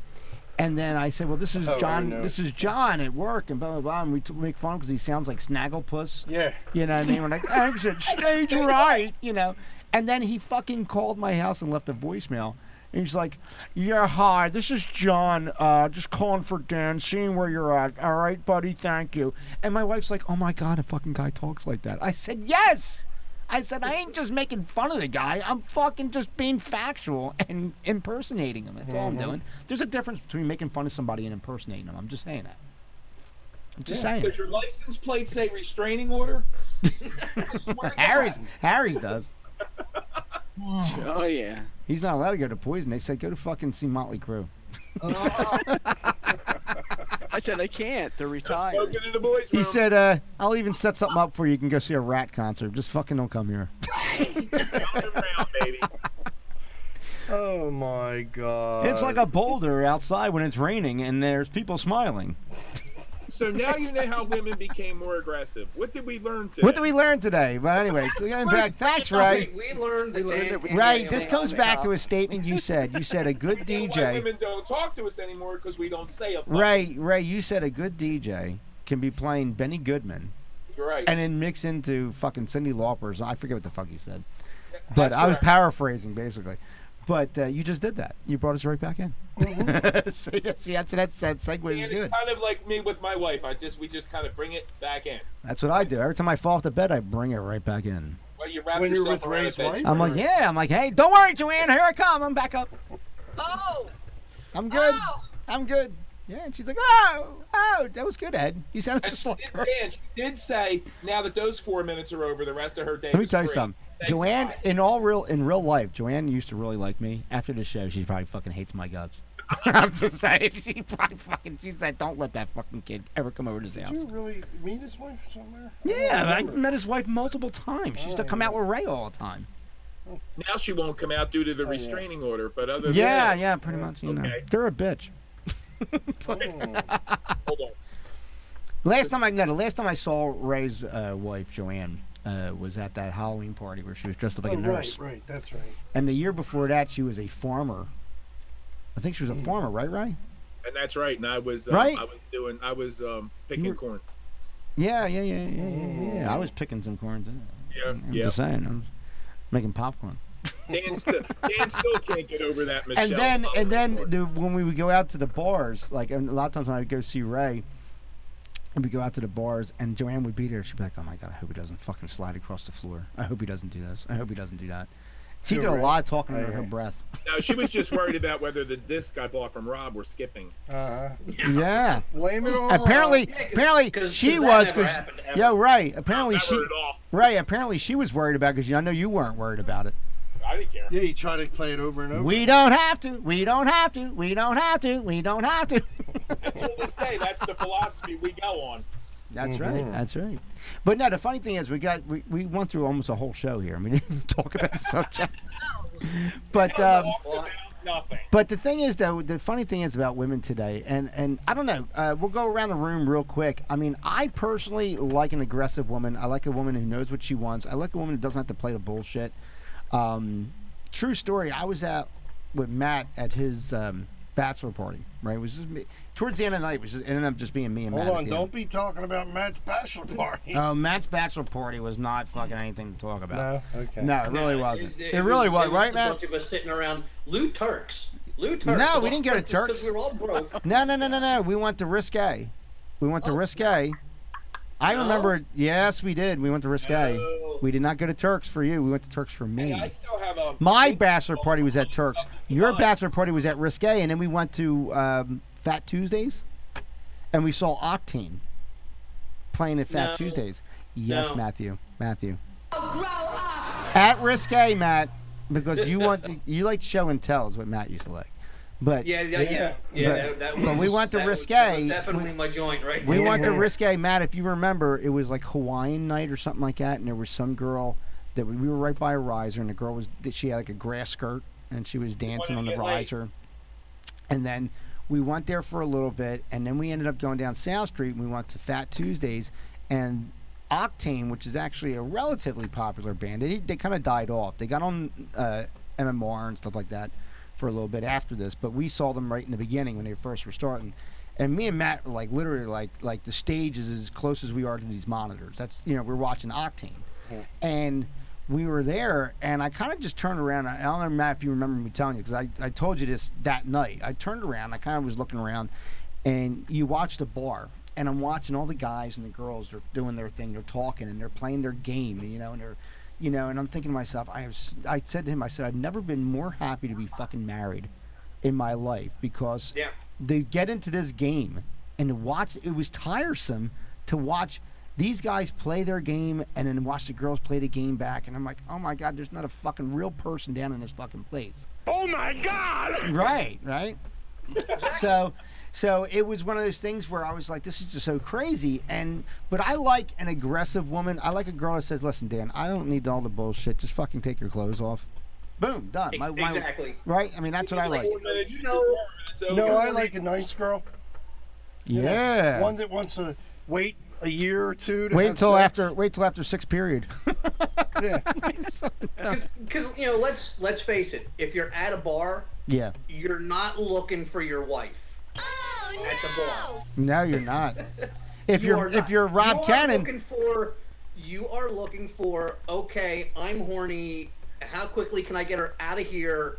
[SPEAKER 2] And then I said, "Well, this is
[SPEAKER 5] Oh,
[SPEAKER 2] John.
[SPEAKER 5] no.
[SPEAKER 2] This is John at work, and blah blah blah." And we t- make fun because he sounds like Snagglepuss.
[SPEAKER 5] Yeah.
[SPEAKER 2] You know what I mean? We're like, "Exit stage right," you know. And then he fucking called my house and left a voicemail. And he's like, "Yeah, hi, this is John. Uh, just calling for Dan, seeing where you're at. All right, buddy, thank you." And my wife's like, "Oh my god, a fucking guy talks like that." I said, "Yes." I said, I ain't just making fun of the guy. I'm fucking just being factual and impersonating him. That's all I'm doing. There's a difference between making fun of somebody and impersonating them. I'm just saying that. I'm just saying.
[SPEAKER 4] [laughs] Does your license plate say restraining order?
[SPEAKER 2] Harry's Harry's does.
[SPEAKER 7] Oh yeah.
[SPEAKER 2] He's not allowed to go to Poison. They said go to fucking see Motley Crue.
[SPEAKER 7] I said I can't. They're retired.
[SPEAKER 4] Spoken to the boys.
[SPEAKER 2] He
[SPEAKER 4] room.
[SPEAKER 2] said, uh, "I'll even set something up for you. You can go see a Rat concert. Just fucking don't come here."
[SPEAKER 4] Round and round, baby.
[SPEAKER 2] [laughs]
[SPEAKER 5] Oh my god.
[SPEAKER 2] it's like a boulder outside when it's raining, and there's people smiling.
[SPEAKER 4] So now you know how women became more aggressive. What did we learn today?
[SPEAKER 2] What did we learn today? But anyway, getting back, thanks, Ray.
[SPEAKER 6] [laughs] We, we learned that.
[SPEAKER 7] learned
[SPEAKER 6] Dan
[SPEAKER 7] that we-
[SPEAKER 6] Campbell-
[SPEAKER 2] Ray, this comes back to a statement you said. You said a good
[SPEAKER 4] You know why
[SPEAKER 2] DJ.
[SPEAKER 4] women don't talk to us anymore because we don't say a fuck.
[SPEAKER 2] Ray, Ray, you said a good DJ can be playing Benny Goodman
[SPEAKER 4] You're right.
[SPEAKER 2] and then mix into fucking Cindy Lauper's. I forget what the fuck you said, but
[SPEAKER 4] That's
[SPEAKER 2] I was
[SPEAKER 4] correct.
[SPEAKER 2] paraphrasing basically. But uh, you just did that. You brought us right back in. [laughs] see, see, that's that segue is
[SPEAKER 4] And Mm-hmm. it's
[SPEAKER 2] good.
[SPEAKER 4] kind of like me with my wife. I just we just kind of bring it back in.
[SPEAKER 2] That's what I do. Every time I fall off the bed, I bring it right back in.
[SPEAKER 4] Well, you wrap
[SPEAKER 5] When you're
[SPEAKER 4] yourself
[SPEAKER 5] with
[SPEAKER 4] around
[SPEAKER 5] Ray's
[SPEAKER 4] a bit.
[SPEAKER 5] wife?
[SPEAKER 2] I'm like, yeah. I'm like, hey, don't worry, Joanne. Here I come. I'm back up.
[SPEAKER 8] Oh,
[SPEAKER 2] I'm good.
[SPEAKER 8] oh,
[SPEAKER 2] I'm good. Yeah, and she's like, oh, oh, that was good, Ed. You sound
[SPEAKER 4] And
[SPEAKER 2] just
[SPEAKER 4] she
[SPEAKER 2] like
[SPEAKER 4] did-
[SPEAKER 2] her.
[SPEAKER 4] and she did say now that those four minutes are over, the rest of her day.
[SPEAKER 2] Let me
[SPEAKER 4] is
[SPEAKER 2] tell you
[SPEAKER 4] free.
[SPEAKER 2] something.
[SPEAKER 4] Thanks a
[SPEAKER 2] Joanne,
[SPEAKER 4] lot.
[SPEAKER 2] in all real in real life, Joanne used to really like me. After the show, she probably fucking hates my guts. [laughs] I'm just saying, she probably fucking. She said, "Don't let that fucking kid ever come over to this
[SPEAKER 5] Did
[SPEAKER 2] house."
[SPEAKER 5] you really meet his wife somewhere? I don't
[SPEAKER 2] Yeah, I
[SPEAKER 5] remember. Oh.
[SPEAKER 2] met his wife multiple times. She used to come out with Ray all the time.
[SPEAKER 4] Now she won't come out due to the
[SPEAKER 5] Oh, yeah.
[SPEAKER 4] restraining order, but other than
[SPEAKER 2] Yeah,
[SPEAKER 4] that,
[SPEAKER 2] yeah, pretty much. You know,
[SPEAKER 4] Okay.
[SPEAKER 2] they're a bitch.
[SPEAKER 5] Oh.
[SPEAKER 4] hold on.
[SPEAKER 2] Last time I no, the last time I saw Ray's uh, wife Joanne uh, was at that Halloween party where she was dressed up like a
[SPEAKER 5] Oh, right,
[SPEAKER 2] nurse.
[SPEAKER 5] right. That's right.
[SPEAKER 2] And the year before that, she was a farmer. I think she was a farmer, right, Ray?
[SPEAKER 4] And that's right. And I was uh,
[SPEAKER 2] Right?
[SPEAKER 4] I was doing. I was um, picking
[SPEAKER 2] You were-
[SPEAKER 4] corn.
[SPEAKER 2] Yeah, yeah, yeah, yeah, yeah, yeah. I was picking some corn too.
[SPEAKER 4] Yeah,
[SPEAKER 2] I'm
[SPEAKER 4] yeah.
[SPEAKER 2] just saying, I'm making popcorn.
[SPEAKER 4] Dan still, Dan still can't get over that. Michelle
[SPEAKER 2] And then,
[SPEAKER 4] Obama
[SPEAKER 2] and then,
[SPEAKER 4] report.
[SPEAKER 2] the, when we would go out to the bars, like and a lot of times when I would go see Ray, and we go out to the bars, and Joanne would be there. She'd be like, "Oh my god, I hope he doesn't fucking slide across the floor. I hope he doesn't do this. I hope he doesn't do that." She
[SPEAKER 5] To
[SPEAKER 2] did a
[SPEAKER 5] Ray.
[SPEAKER 2] lot of talking under
[SPEAKER 5] Aye,
[SPEAKER 2] her
[SPEAKER 5] aye.
[SPEAKER 2] breath.
[SPEAKER 4] no, she was just worried about whether the disc I bought from Rob were skipping.
[SPEAKER 5] Uh,
[SPEAKER 2] Yeah.
[SPEAKER 5] blame it all. on-
[SPEAKER 2] Apparently,
[SPEAKER 6] Yeah, 'cause-
[SPEAKER 2] apparently
[SPEAKER 6] 'cause- 'cause
[SPEAKER 2] she
[SPEAKER 6] that
[SPEAKER 2] was
[SPEAKER 6] never
[SPEAKER 2] because
[SPEAKER 6] happened, ever.
[SPEAKER 2] yeah, right. Apparently
[SPEAKER 4] Not
[SPEAKER 2] she
[SPEAKER 4] at all.
[SPEAKER 2] right. Apparently she was worried about because I know you weren't worried about it.
[SPEAKER 4] I didn't care.
[SPEAKER 5] Yeah, you try to play it over and over.
[SPEAKER 2] We don't have to. We don't have to. We don't have to. We don't have to.
[SPEAKER 4] Until this day, that's the philosophy we go on.
[SPEAKER 2] [laughs] That's right. That's right. But no, the funny thing is, we got we, we went through almost a whole show here, and we didn't [laughs] talk about the [laughs] subject. But um,
[SPEAKER 4] Talked about nothing.
[SPEAKER 2] but the thing is, though, the funny thing is about women today, and and I don't know. Uh, we'll go around the room real quick. I mean, I personally like an aggressive woman. I like a woman who knows what she wants. I like a woman who doesn't have to play the bullshit. Um, true story. I was out with Matt at his um, bachelor party. Right, it was just me, towards the end of the night. It was just, ended up just being me and
[SPEAKER 5] Hold
[SPEAKER 2] Matt. at
[SPEAKER 5] on,
[SPEAKER 2] the end.
[SPEAKER 5] don't be talking about Matt's bachelor party.
[SPEAKER 2] Oh, Matt's bachelor party was not fucking anything to talk about.
[SPEAKER 5] [laughs] no, okay.
[SPEAKER 2] No, it really wasn't. It,
[SPEAKER 6] it
[SPEAKER 2] really was,
[SPEAKER 6] just
[SPEAKER 2] right,
[SPEAKER 6] a
[SPEAKER 2] Matt?
[SPEAKER 6] bunch of us sitting around Lou Turks. Lou Turks.
[SPEAKER 2] No, we didn't go to
[SPEAKER 6] [laughs] Because
[SPEAKER 2] Turks.
[SPEAKER 6] We were all broke.
[SPEAKER 2] No, no, no, no, no. We went to risque. We went to risque. I
[SPEAKER 6] No.
[SPEAKER 2] remember. Yes, we did. We went to risque.
[SPEAKER 4] No.
[SPEAKER 2] We did not go to Turks for you. We went to Turks for me.
[SPEAKER 4] I still have a.
[SPEAKER 2] My bachelor party was at Turks. Your bachelor party was at risque, and then we went to um, Fat Tuesdays, and we saw Octane playing at Fat
[SPEAKER 6] No.
[SPEAKER 2] Tuesdays. Yes,
[SPEAKER 6] No.
[SPEAKER 2] Matthew. Matthew.
[SPEAKER 8] Oh, grow up.
[SPEAKER 2] at risque, Matt, because you want to, you like show and tell is what Matt used to like. But
[SPEAKER 6] [laughs] Yeah, yeah, yeah. yeah
[SPEAKER 2] But-
[SPEAKER 6] that, that was,
[SPEAKER 2] but we went to
[SPEAKER 6] that was-
[SPEAKER 2] Risque.
[SPEAKER 6] that was definitely my joint, right?
[SPEAKER 2] we
[SPEAKER 6] [laughs] there.
[SPEAKER 2] went to risque, Matt. If you remember, it was like Hawaiian night or something like that, and there was some girl that we, we were right by a riser, and the girl was that she had like a grass skirt and she was dancing
[SPEAKER 4] to
[SPEAKER 2] on the
[SPEAKER 4] get laid.
[SPEAKER 2] riser, and then. We went there for a little bit, and then we ended up going down South Street. and We went to Fat Tuesdays, and Octane, which is actually a relatively popular band, they, they kind of died off. They got on uh, MMR and stuff like that for a little bit after this, but we saw them right in the beginning when they first were starting. And me and Matt were like literally like like the stage is as close as we are to these monitors. That's you know we're watching Octane, and we were there, and I kind of just turned around. I I don't know Matt if you remember me telling you because I, I told you this that night. I turned around, I kind of was looking around, and you watch the bar and i'm watching all the guys and the girls they're doing their thing they're talking and they're playing their game you know and they're you know and i'm thinking to myself i have s- i said to him i said i've never been more happy to be fucking married in my life because
[SPEAKER 6] Yeah.
[SPEAKER 2] they get into this game and to watch it was tiresome to watch these guys play their game and then watch the girls play the game back and i'm like oh my god there's not a fucking real person down in this fucking place oh my god right [laughs] right so so it was one of those things where I was like, this is just so crazy. And but I like an aggressive woman. I like a girl that says, listen, Dan, I don't need all the bullshit. Just fucking take your clothes off. Boom, done. My, my-
[SPEAKER 6] E, exactly.
[SPEAKER 2] right? I mean, that's what I like.
[SPEAKER 4] Four minutes, you
[SPEAKER 6] No.
[SPEAKER 4] just four minutes,
[SPEAKER 5] No,
[SPEAKER 4] so-
[SPEAKER 5] I like a nice girl.
[SPEAKER 2] Yeah.
[SPEAKER 5] One that wants to wait a year or two to
[SPEAKER 2] Wait
[SPEAKER 5] have
[SPEAKER 2] till
[SPEAKER 5] sex.
[SPEAKER 2] after. Wait till after six period. [laughs]
[SPEAKER 5] Yeah.
[SPEAKER 6] Because you know, let's let's face it. If you're at a bar,
[SPEAKER 2] yeah.
[SPEAKER 6] you're not looking for your wife. At the
[SPEAKER 8] Oh,
[SPEAKER 6] bar.
[SPEAKER 2] No, you're not. If
[SPEAKER 6] You
[SPEAKER 2] you
[SPEAKER 6] are
[SPEAKER 2] are
[SPEAKER 6] not.
[SPEAKER 2] if you're Rob
[SPEAKER 6] you are
[SPEAKER 2] Cannon,
[SPEAKER 6] looking for, you are looking for. Okay, I'm horny. How quickly can I get her out of here,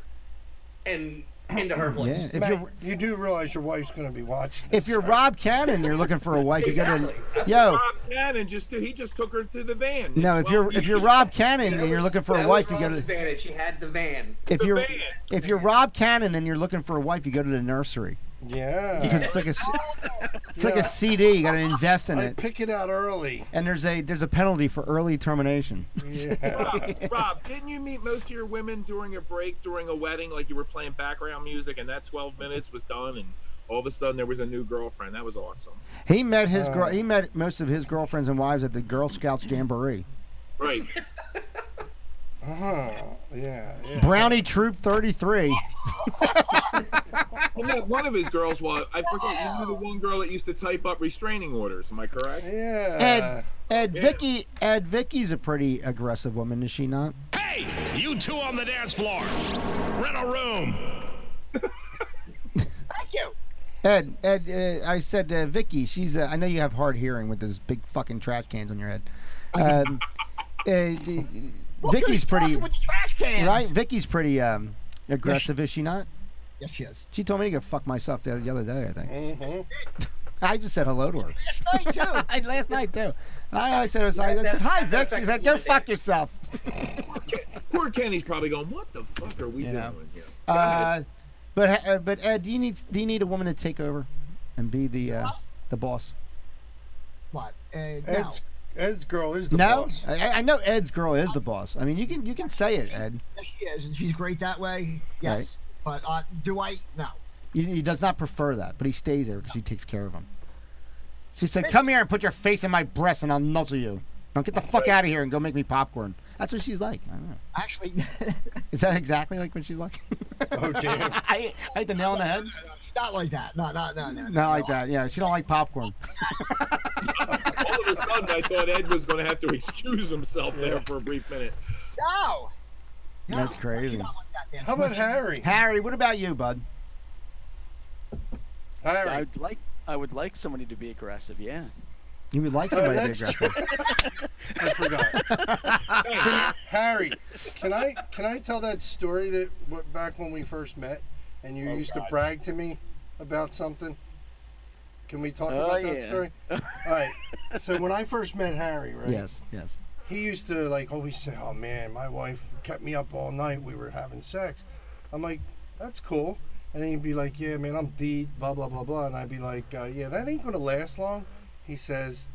[SPEAKER 6] and into her place?
[SPEAKER 2] [clears throat] yeah. [laughs] If
[SPEAKER 5] Matt,
[SPEAKER 2] you're
[SPEAKER 5] you do realize your wife's going to be watching.
[SPEAKER 2] if you're Rob Cannon, you're looking for a wife. You get in.
[SPEAKER 6] Exactly. That's
[SPEAKER 2] Yo,
[SPEAKER 4] Rob Cannon just he just took her to the van.
[SPEAKER 2] no. If
[SPEAKER 4] Well,
[SPEAKER 2] you're if you're Rob Cannon
[SPEAKER 6] That
[SPEAKER 2] and you're
[SPEAKER 6] was-
[SPEAKER 2] looking for
[SPEAKER 6] that
[SPEAKER 2] a
[SPEAKER 6] was
[SPEAKER 2] wife, you go
[SPEAKER 6] Rob's
[SPEAKER 2] to
[SPEAKER 6] advantage. He had the van.
[SPEAKER 2] if
[SPEAKER 4] the
[SPEAKER 2] you're
[SPEAKER 4] van.
[SPEAKER 2] if you're Rob Cannon and you're looking for a wife, you go to the nursery
[SPEAKER 6] Uh,
[SPEAKER 2] because
[SPEAKER 5] yeah,
[SPEAKER 2] it's like a c- it's like
[SPEAKER 5] Yeah.
[SPEAKER 2] a CD. You got to invest in
[SPEAKER 5] I
[SPEAKER 2] it,
[SPEAKER 5] pick it out early.
[SPEAKER 2] and there's a there's a penalty for early termination. [laughs]
[SPEAKER 5] Yeah.
[SPEAKER 4] Rob, Rob, didn't you meet most of your women during a break, during a wedding, like you were playing background music, and that 12 minutes was done, and all of a sudden there was a new girlfriend. That was awesome.
[SPEAKER 2] He met his
[SPEAKER 6] Uh.
[SPEAKER 2] girl. He met most of his girlfriends and wives at the Girl Scouts jamboree.
[SPEAKER 4] Right.
[SPEAKER 5] Uh-huh. Yeah. yeah.
[SPEAKER 2] Brownie Troop 33.
[SPEAKER 4] And then one of his girls was I forget. You knew the one girl that used to type up restraining orders. Am I
[SPEAKER 5] [laughs]
[SPEAKER 4] correct?
[SPEAKER 5] Yeah.
[SPEAKER 9] Uh,
[SPEAKER 2] Ed, Ed
[SPEAKER 4] Yeah.
[SPEAKER 2] Vicky, Ed Vicky's a pretty aggressive woman, is she not?
[SPEAKER 9] Hey, you two on the dance floor. Rent a room.
[SPEAKER 3] [laughs] Thank you.
[SPEAKER 2] Ed, Ed, uh, I said uh, Vicky. She's. Uh, I know you have hard hearing with those big fucking trash cans on your head.
[SPEAKER 3] [laughs]
[SPEAKER 2] Um, uh, d- Vicky's
[SPEAKER 3] Who's talking
[SPEAKER 2] pretty,
[SPEAKER 3] With the trash can.
[SPEAKER 2] right? Vicky's pretty um, aggressive, is she not?
[SPEAKER 3] Yes, she is.
[SPEAKER 2] She told me to go fuck myself the other, the other day. I think
[SPEAKER 5] hmm
[SPEAKER 3] Mm-hmm.
[SPEAKER 2] [laughs] I just said hello to her
[SPEAKER 3] Last night [laughs] too.
[SPEAKER 2] [laughs] I, last night too. I, I said, I,
[SPEAKER 6] that-
[SPEAKER 2] said, "Hi,
[SPEAKER 6] that
[SPEAKER 2] Vic." She
[SPEAKER 6] affected
[SPEAKER 2] said,
[SPEAKER 6] you
[SPEAKER 2] "Go
[SPEAKER 6] today.
[SPEAKER 2] fuck yourself."
[SPEAKER 4] Poor Kenny's probably going, "What the fuck are we
[SPEAKER 2] You
[SPEAKER 4] doing
[SPEAKER 2] know.
[SPEAKER 4] here?"
[SPEAKER 2] Uh, but uh, but Ed, do you need do you need a woman to take over and be the uh, the boss?
[SPEAKER 3] What? Uh, no.
[SPEAKER 5] Ed's, Ed's girl is the
[SPEAKER 2] no, [laughs]
[SPEAKER 5] boss.
[SPEAKER 2] I, I know Ed's girl is the boss. I mean, you can you can say it, Ed.
[SPEAKER 3] Yes, she is, and she's great that way. Yes.
[SPEAKER 2] Right.
[SPEAKER 3] But uh, do I? No.
[SPEAKER 2] He, he does not prefer that, but he stays there because she takes care of him. She said, "Come here and put your face in my breast, and I'll nuzzle you. Now get the fuck out of here and go make me popcorn." That's what she's like. I don't know.
[SPEAKER 3] Actually, [laughs]
[SPEAKER 2] Is that exactly like what she's like? [laughs]
[SPEAKER 5] Oh damn.
[SPEAKER 2] I I hit the nail on the head.
[SPEAKER 3] not like that. No, no, no, no.
[SPEAKER 2] Not like that. Yeah, she don't like popcorn.
[SPEAKER 4] All of a sudden, I thought Ed was going to have to excuse himself there for a brief minute.
[SPEAKER 3] No. No.
[SPEAKER 2] That's crazy.
[SPEAKER 3] She's not like that, man.
[SPEAKER 5] How about
[SPEAKER 2] [laughs]
[SPEAKER 5] Harry?
[SPEAKER 2] Harry, what about you, bud?
[SPEAKER 7] I
[SPEAKER 5] Harry.
[SPEAKER 7] would like I would like somebody to be aggressive. Yeah.
[SPEAKER 2] You would like
[SPEAKER 5] Oh,
[SPEAKER 2] somebody to be
[SPEAKER 5] that's
[SPEAKER 2] aggressive.
[SPEAKER 5] [laughs] I forgot. Can- Harry, can I can I tell that story that what, back when we first met, and you used to brag to me about something? Can we talk
[SPEAKER 7] Oh,
[SPEAKER 5] about that
[SPEAKER 7] yeah.
[SPEAKER 5] story? All right. So when I first met Harry, right?
[SPEAKER 2] Yes, yes.
[SPEAKER 5] he used to like always say, "Oh man, my wife kept me up all night. We were having sex." I'm like, "That's cool," and then he'd be like, "Yeah, man, I'm beat, blah blah blah blah," and I'd be like, uh, "Yeah, that ain't gonna last long." He says,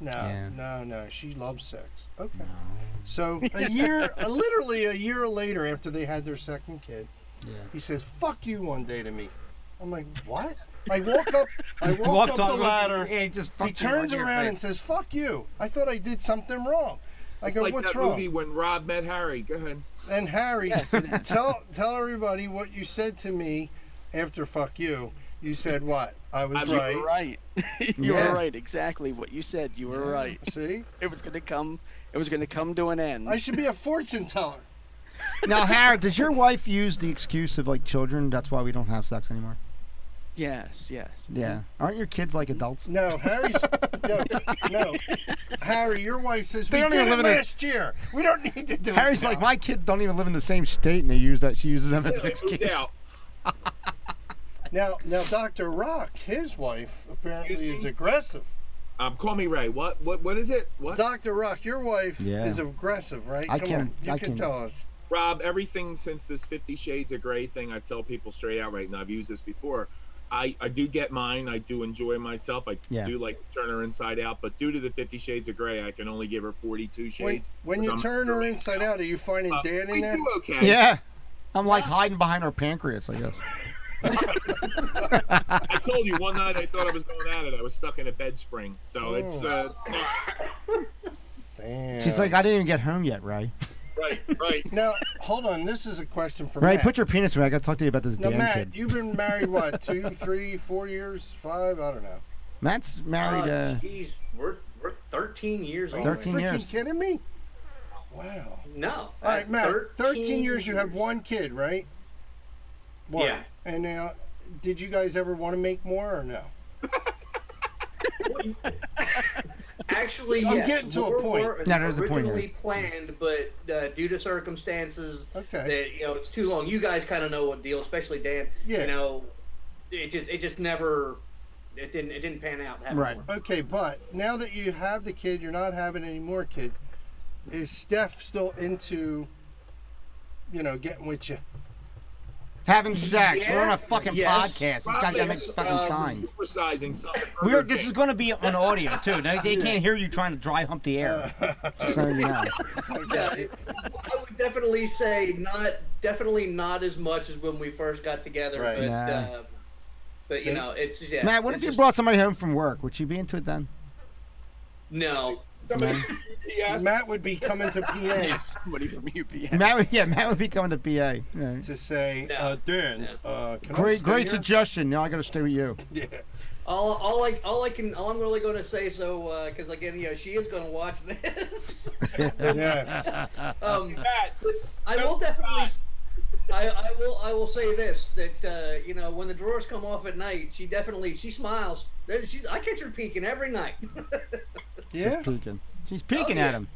[SPEAKER 5] "No,
[SPEAKER 2] Yeah.
[SPEAKER 5] no, no. She loves sex." Okay. So a year, literally a year later, after they had their second kid, he says, "Fuck you" one day to me. I'm like, "What?" I walk up, I walk up the ladder.
[SPEAKER 2] He just
[SPEAKER 5] He turns around and says, "Fuck you." I thought I did something wrong. I go,
[SPEAKER 4] like
[SPEAKER 5] "What's
[SPEAKER 4] that
[SPEAKER 5] wrong?"
[SPEAKER 4] movie when Rob met Harry. Go ahead.
[SPEAKER 5] And Harry, tell tell everybody what you said to me after "fuck you." You said what? I was
[SPEAKER 4] I'm
[SPEAKER 5] right.
[SPEAKER 7] You were right. [laughs] you
[SPEAKER 5] Yeah.
[SPEAKER 7] were right. Exactly what you said. You were right.
[SPEAKER 5] See,
[SPEAKER 7] It was gonna come. It was gonna come to an end.
[SPEAKER 5] I should be a fortune teller.
[SPEAKER 2] now, Harry, does
[SPEAKER 5] [laughs]
[SPEAKER 2] your wife use the excuse of like children? That's why we don't have sex anymore.
[SPEAKER 7] yes. Yes.
[SPEAKER 2] Yeah. Aren't your kids like adults?
[SPEAKER 5] No, Harry's no, no. Harry, your wife says
[SPEAKER 2] They
[SPEAKER 5] we
[SPEAKER 2] don't
[SPEAKER 5] did
[SPEAKER 2] even
[SPEAKER 5] it
[SPEAKER 2] live in a-
[SPEAKER 5] last year. We don't need to do it.
[SPEAKER 2] Harry's
[SPEAKER 5] now."
[SPEAKER 2] like, my kids don't even live in the same state, and they use that. She uses
[SPEAKER 5] [laughs]
[SPEAKER 2] them as an
[SPEAKER 4] Like, no
[SPEAKER 2] excuse.
[SPEAKER 4] doubt.
[SPEAKER 5] now. Now, Doctor Rock, his wife apparently
[SPEAKER 4] Excuse
[SPEAKER 5] is
[SPEAKER 4] me?
[SPEAKER 5] aggressive.
[SPEAKER 4] Um, call me Ray. What? What? What is it? What?
[SPEAKER 5] Doctor Rock, your wife
[SPEAKER 2] Yeah.
[SPEAKER 5] is aggressive, right?
[SPEAKER 2] I
[SPEAKER 5] Come
[SPEAKER 2] can-
[SPEAKER 5] on, you
[SPEAKER 2] I
[SPEAKER 5] can
[SPEAKER 2] can-
[SPEAKER 5] tell us.
[SPEAKER 4] Rob, everything since this Fifty Shades of Grey thing, I tell people straight out right now. I've used this before. I, I do get mine. I do enjoy myself. I
[SPEAKER 2] Yeah.
[SPEAKER 4] do like turn her inside out, but due to the Fifty Shades of Grey, I can only give her 42
[SPEAKER 5] When,
[SPEAKER 4] shades.
[SPEAKER 5] when
[SPEAKER 4] which
[SPEAKER 5] you
[SPEAKER 4] I'm-
[SPEAKER 5] turn her inside out, are you finding
[SPEAKER 4] Uh,
[SPEAKER 5] Dan
[SPEAKER 4] we
[SPEAKER 5] in there?
[SPEAKER 4] do okay.
[SPEAKER 2] Yeah. I'm like hiding behind her pancreas, I guess.
[SPEAKER 4] I told you one night I thought I was going at it. I was stuck in a bed spring.
[SPEAKER 5] Oh.
[SPEAKER 4] So it's uh,
[SPEAKER 5] Damn.
[SPEAKER 2] She's like, I didn't even get home yet, Ray.
[SPEAKER 4] right, right.
[SPEAKER 5] now hold on. This is a question for
[SPEAKER 2] Ray,
[SPEAKER 5] Matt.
[SPEAKER 2] put your penis away. I got to talk to you about this
[SPEAKER 5] now,
[SPEAKER 2] damn
[SPEAKER 5] Matt,
[SPEAKER 2] kid.
[SPEAKER 5] you've been married what? Two, three, four years, five? I
[SPEAKER 2] [laughs]
[SPEAKER 5] don't know.
[SPEAKER 2] Matt's married.
[SPEAKER 6] Oh,
[SPEAKER 2] Uh,
[SPEAKER 6] Jeez, we're, we're 13 years
[SPEAKER 5] Are you
[SPEAKER 6] old.
[SPEAKER 2] 13
[SPEAKER 5] freaking
[SPEAKER 2] years.
[SPEAKER 5] kidding me? Wow.
[SPEAKER 6] No.
[SPEAKER 5] All right, Matt. Thirteen years. You have one kid, right? One.
[SPEAKER 6] Yeah.
[SPEAKER 5] And now, did you guys ever want to make more or no?
[SPEAKER 6] Actually,
[SPEAKER 5] I'm
[SPEAKER 6] yes,
[SPEAKER 5] getting to a
[SPEAKER 6] more
[SPEAKER 5] point.
[SPEAKER 6] were
[SPEAKER 2] No, there's a point here.
[SPEAKER 6] originally planned, but uh, due to circumstances
[SPEAKER 5] Okay.
[SPEAKER 6] that you know it's too long. You guys kind of know what deal, especially Dan.
[SPEAKER 5] Yeah.
[SPEAKER 6] You know, it just it just never it didn't it didn't pan out. having
[SPEAKER 2] Right.
[SPEAKER 6] one.
[SPEAKER 5] Okay, but now that you have the kid, you're not having any more kids. Is Steph still into, you know, getting with you?
[SPEAKER 2] having sex. We're on
[SPEAKER 6] Yeah.
[SPEAKER 2] a fucking
[SPEAKER 6] Yes.
[SPEAKER 2] podcast. This guy got to make
[SPEAKER 4] Probably,
[SPEAKER 2] fucking
[SPEAKER 5] um,
[SPEAKER 4] uh,
[SPEAKER 2] signs.
[SPEAKER 4] Supersizing something.
[SPEAKER 2] We're, this is going to be on audio, too. They, they can't hear you trying to dry hump the air. Just so you know.
[SPEAKER 5] Okay.
[SPEAKER 6] I would definitely say not definitely not as much as when we first got together,
[SPEAKER 5] Right.
[SPEAKER 6] but.
[SPEAKER 2] Nah.
[SPEAKER 6] Uh, but
[SPEAKER 5] See?
[SPEAKER 6] you know, it's yeah.
[SPEAKER 2] Matt, what
[SPEAKER 6] it's
[SPEAKER 2] if you
[SPEAKER 6] just-
[SPEAKER 2] brought somebody home from work? Would you be into it then?
[SPEAKER 6] No.
[SPEAKER 4] Somebody, yes.
[SPEAKER 5] Matt would be coming to
[SPEAKER 7] [laughs]
[SPEAKER 5] PA
[SPEAKER 7] Somebody from UPS.
[SPEAKER 2] Matt, would- yeah, Matt would be coming to PA. Yeah.
[SPEAKER 5] to say,
[SPEAKER 6] No.
[SPEAKER 5] uh, Dan,
[SPEAKER 6] No.
[SPEAKER 5] uh, can I
[SPEAKER 2] Great,
[SPEAKER 5] stay
[SPEAKER 2] great
[SPEAKER 5] here?
[SPEAKER 2] suggestion. Now I got to stay with you.
[SPEAKER 5] [laughs] Yeah.
[SPEAKER 6] All, all I, all I can, all I'm really going to say, so, because again, you know, she is going to watch
[SPEAKER 2] [laughs]
[SPEAKER 6] this. [laughs]
[SPEAKER 5] Yes.
[SPEAKER 6] um,
[SPEAKER 4] Matt,
[SPEAKER 6] I will definitely, s- I, I will, I will say this that uh, you know, when the drawers come off at night, she definitely, she smiles. There- She's, I catch her peeking every night. [laughs]
[SPEAKER 5] Yeah.
[SPEAKER 2] [laughs] She's peeking. She's peeking
[SPEAKER 6] yeah.
[SPEAKER 2] at him.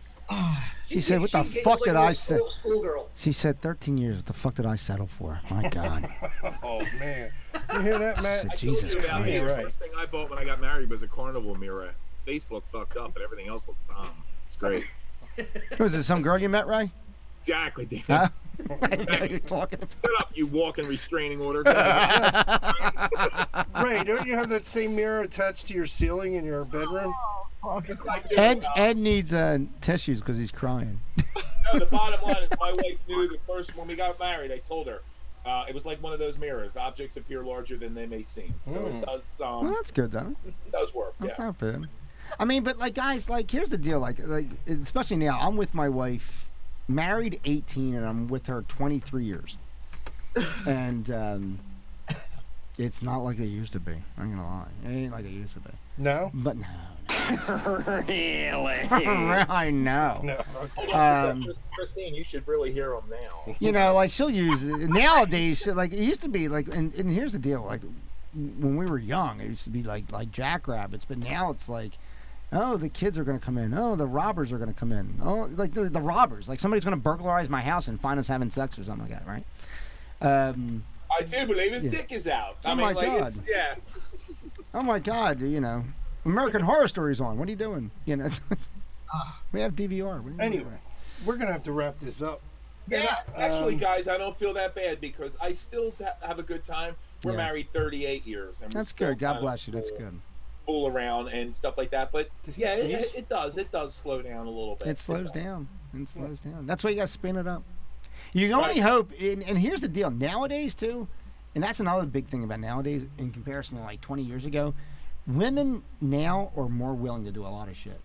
[SPEAKER 2] She said, "What the
[SPEAKER 6] giggles
[SPEAKER 2] fuck
[SPEAKER 6] like
[SPEAKER 2] did
[SPEAKER 6] a
[SPEAKER 2] I
[SPEAKER 6] little
[SPEAKER 2] say?"
[SPEAKER 6] school- Schoolgirl.
[SPEAKER 2] She said, 13 years. What the fuck did I settle for? My God.
[SPEAKER 5] Oh man. You hear that,
[SPEAKER 2] I
[SPEAKER 5] Matt?
[SPEAKER 2] said,
[SPEAKER 4] I told
[SPEAKER 2] Jesus
[SPEAKER 4] you about
[SPEAKER 2] Christ.
[SPEAKER 4] me.
[SPEAKER 5] Yeah,
[SPEAKER 4] The
[SPEAKER 5] right.
[SPEAKER 4] first thing I bought when I got married was a carnival mirror. Face looked fucked up, but everything else looked bomb.
[SPEAKER 2] [laughs]
[SPEAKER 4] It's great.
[SPEAKER 2] Was it some girl you met, Ray? [laughs]
[SPEAKER 4] Exactly, Dan.
[SPEAKER 2] Huh? I didn't know who you're talking about.
[SPEAKER 4] Shut up, you walking
[SPEAKER 2] [laughs]
[SPEAKER 4] restraining order.
[SPEAKER 5] Ray, don't you have that same mirror attached to your ceiling in your bedroom?
[SPEAKER 2] Ed, Ed needs uh, tissues because he's crying.
[SPEAKER 4] No, the bottom line is my wife knew the first when we got married. I told her uh, it was like one of those mirrors. Objects appear larger than they may seem. So
[SPEAKER 5] Hmm.
[SPEAKER 4] it does
[SPEAKER 2] Well,
[SPEAKER 4] um,
[SPEAKER 2] that's good, though.
[SPEAKER 4] it does work.
[SPEAKER 2] That's
[SPEAKER 4] Yes.
[SPEAKER 2] not bad. I mean, but like, guys, like, here's the deal. Like, like, especially now, I'm with my wife, married 18, and I'm with her 23 years, and um, it's not like it used to be. I'm gonna lie, it ain't like it used to be.
[SPEAKER 5] No.
[SPEAKER 2] But no,
[SPEAKER 7] really?
[SPEAKER 2] [laughs] I know.
[SPEAKER 5] No.
[SPEAKER 2] Um,
[SPEAKER 4] So, Christine, you should really hear them now.
[SPEAKER 2] you know, like she'll use it. nowadays. she- Like it used to be, like, and, and here's the deal. Like when we were young, it used to be like like jackrabbits, but now it's like, oh, the kids are gonna come in. Oh, the robbers are gonna come in. Oh, like the, the robbers. Like somebody's gonna burglarize my house and find us having sex or something like that, right? Um,
[SPEAKER 4] I do believe his
[SPEAKER 2] Yeah.
[SPEAKER 4] dick is out. I
[SPEAKER 2] Oh
[SPEAKER 4] mean,
[SPEAKER 2] my
[SPEAKER 4] like, it's
[SPEAKER 2] God.
[SPEAKER 4] yeah.
[SPEAKER 2] oh my God, you know, American Horror Stories on. What are you doing? You know, [laughs] it's like, we have DVR. What are you doing?
[SPEAKER 5] Anyway, we're gonna have to wrap this up.
[SPEAKER 4] Yeah, actually,
[SPEAKER 5] Um,
[SPEAKER 4] guys, I don't feel that bad because I still ha- have a good time. We're
[SPEAKER 2] Yeah.
[SPEAKER 4] married 38 years. And we
[SPEAKER 2] That's
[SPEAKER 4] still
[SPEAKER 2] good. God
[SPEAKER 4] kinda
[SPEAKER 2] bless you. That's
[SPEAKER 4] fool-
[SPEAKER 2] good.
[SPEAKER 4] Fool around and stuff like that, but
[SPEAKER 5] Did he
[SPEAKER 4] yeah, it,
[SPEAKER 5] sneeze?
[SPEAKER 4] it, it does. It does slow down a little bit.
[SPEAKER 2] It slows
[SPEAKER 4] does.
[SPEAKER 2] down. It slows down. That's why you got to spin it up. You can only hope, and, and here's the deal nowadays, too, and that's another big thing about nowadays in comparison to like 20 years ago, women now are more willing to do a lot of shit.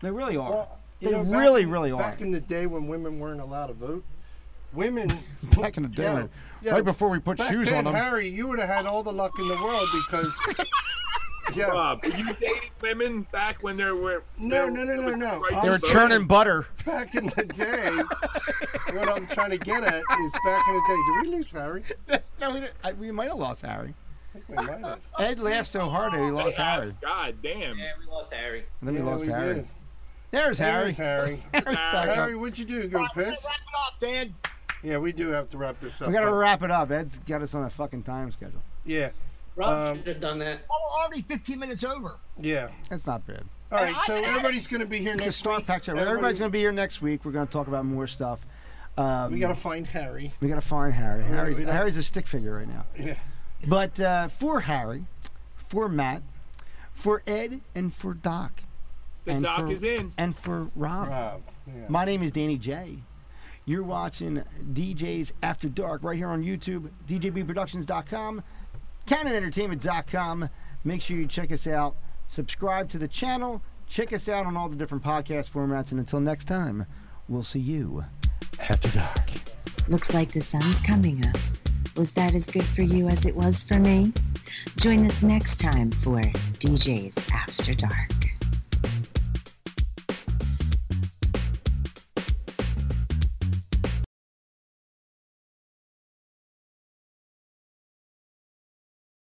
[SPEAKER 2] They really are.
[SPEAKER 5] Well, you
[SPEAKER 2] they
[SPEAKER 5] know, back
[SPEAKER 2] really,
[SPEAKER 5] in-
[SPEAKER 2] really are.
[SPEAKER 5] Back in the day when women weren't allowed to vote,
[SPEAKER 2] [laughs]
[SPEAKER 5] women.
[SPEAKER 2] Back in the day,
[SPEAKER 5] Yeah,
[SPEAKER 2] right
[SPEAKER 5] yeah,
[SPEAKER 2] before we put
[SPEAKER 5] back
[SPEAKER 2] shoes
[SPEAKER 5] then,
[SPEAKER 2] on them.
[SPEAKER 5] Harry, you would have had all the luck in the world because.
[SPEAKER 2] [laughs]
[SPEAKER 5] yeah.
[SPEAKER 4] Bob, Uh, you dated women back when there were
[SPEAKER 5] No,
[SPEAKER 4] there-
[SPEAKER 5] no, no,
[SPEAKER 4] there
[SPEAKER 5] no,
[SPEAKER 4] was
[SPEAKER 5] no.
[SPEAKER 4] right
[SPEAKER 5] I'm
[SPEAKER 2] They were
[SPEAKER 4] voting.
[SPEAKER 2] churning
[SPEAKER 5] [laughs]
[SPEAKER 2] butter.
[SPEAKER 5] Back in the day, what I'm trying to get at is back in the day. Did we lose Harry?
[SPEAKER 2] No, we, didn't- I, we might have lost Harry.
[SPEAKER 5] I think we might have.
[SPEAKER 2] Ed laughed so hard that he lost Harry.
[SPEAKER 4] God damn.
[SPEAKER 6] Yeah, we lost Harry.
[SPEAKER 2] And then we
[SPEAKER 5] Oh, Yeah,
[SPEAKER 2] lost
[SPEAKER 5] we
[SPEAKER 2] Harry.
[SPEAKER 5] did.
[SPEAKER 2] There's Harry.
[SPEAKER 5] There's Harry.
[SPEAKER 2] [laughs] Harry's back up.
[SPEAKER 5] Harry, what'd you do? Go piss?
[SPEAKER 3] Wrap it up, Dan.
[SPEAKER 5] Yeah, we do have to wrap this up.
[SPEAKER 2] We got to
[SPEAKER 5] but-
[SPEAKER 2] wrap it up. Ed's got us on a fucking time schedule.
[SPEAKER 5] Yeah,
[SPEAKER 6] Rob
[SPEAKER 5] Um,
[SPEAKER 6] should have done that.
[SPEAKER 3] Oh, we're already 15 minutes over.
[SPEAKER 5] yeah.
[SPEAKER 2] That's not bad.
[SPEAKER 5] All right, so everybody's going to be here
[SPEAKER 2] It's a
[SPEAKER 5] next
[SPEAKER 2] star
[SPEAKER 5] week.
[SPEAKER 2] packed show. Everybody's going to be here next week. We're going to talk about more stuff. Um,
[SPEAKER 5] We got to find Harry.
[SPEAKER 2] we gotta find Harry. Harry's,
[SPEAKER 5] we don't-
[SPEAKER 2] Harry's a stick figure right now.
[SPEAKER 5] Yeah.
[SPEAKER 2] But uh, for Harry, for Matt, for Ed, and for Doc,
[SPEAKER 4] The
[SPEAKER 2] And
[SPEAKER 4] doc
[SPEAKER 2] for-
[SPEAKER 4] is in.
[SPEAKER 2] and for Rob,
[SPEAKER 5] Rob. Yeah.
[SPEAKER 2] my name is Danny J. You're watching DJs After Dark right here on YouTube, DJBProductions.com, CanonEntertainment.com. Make sure you check us out. Subscribe to the channel. Check us out on all the different podcast formats. And until next time, we'll see you after dark.
[SPEAKER 1] Looks like the sun's coming up. Was that as good for you as it was for me? Join us next time for DJs After Dark.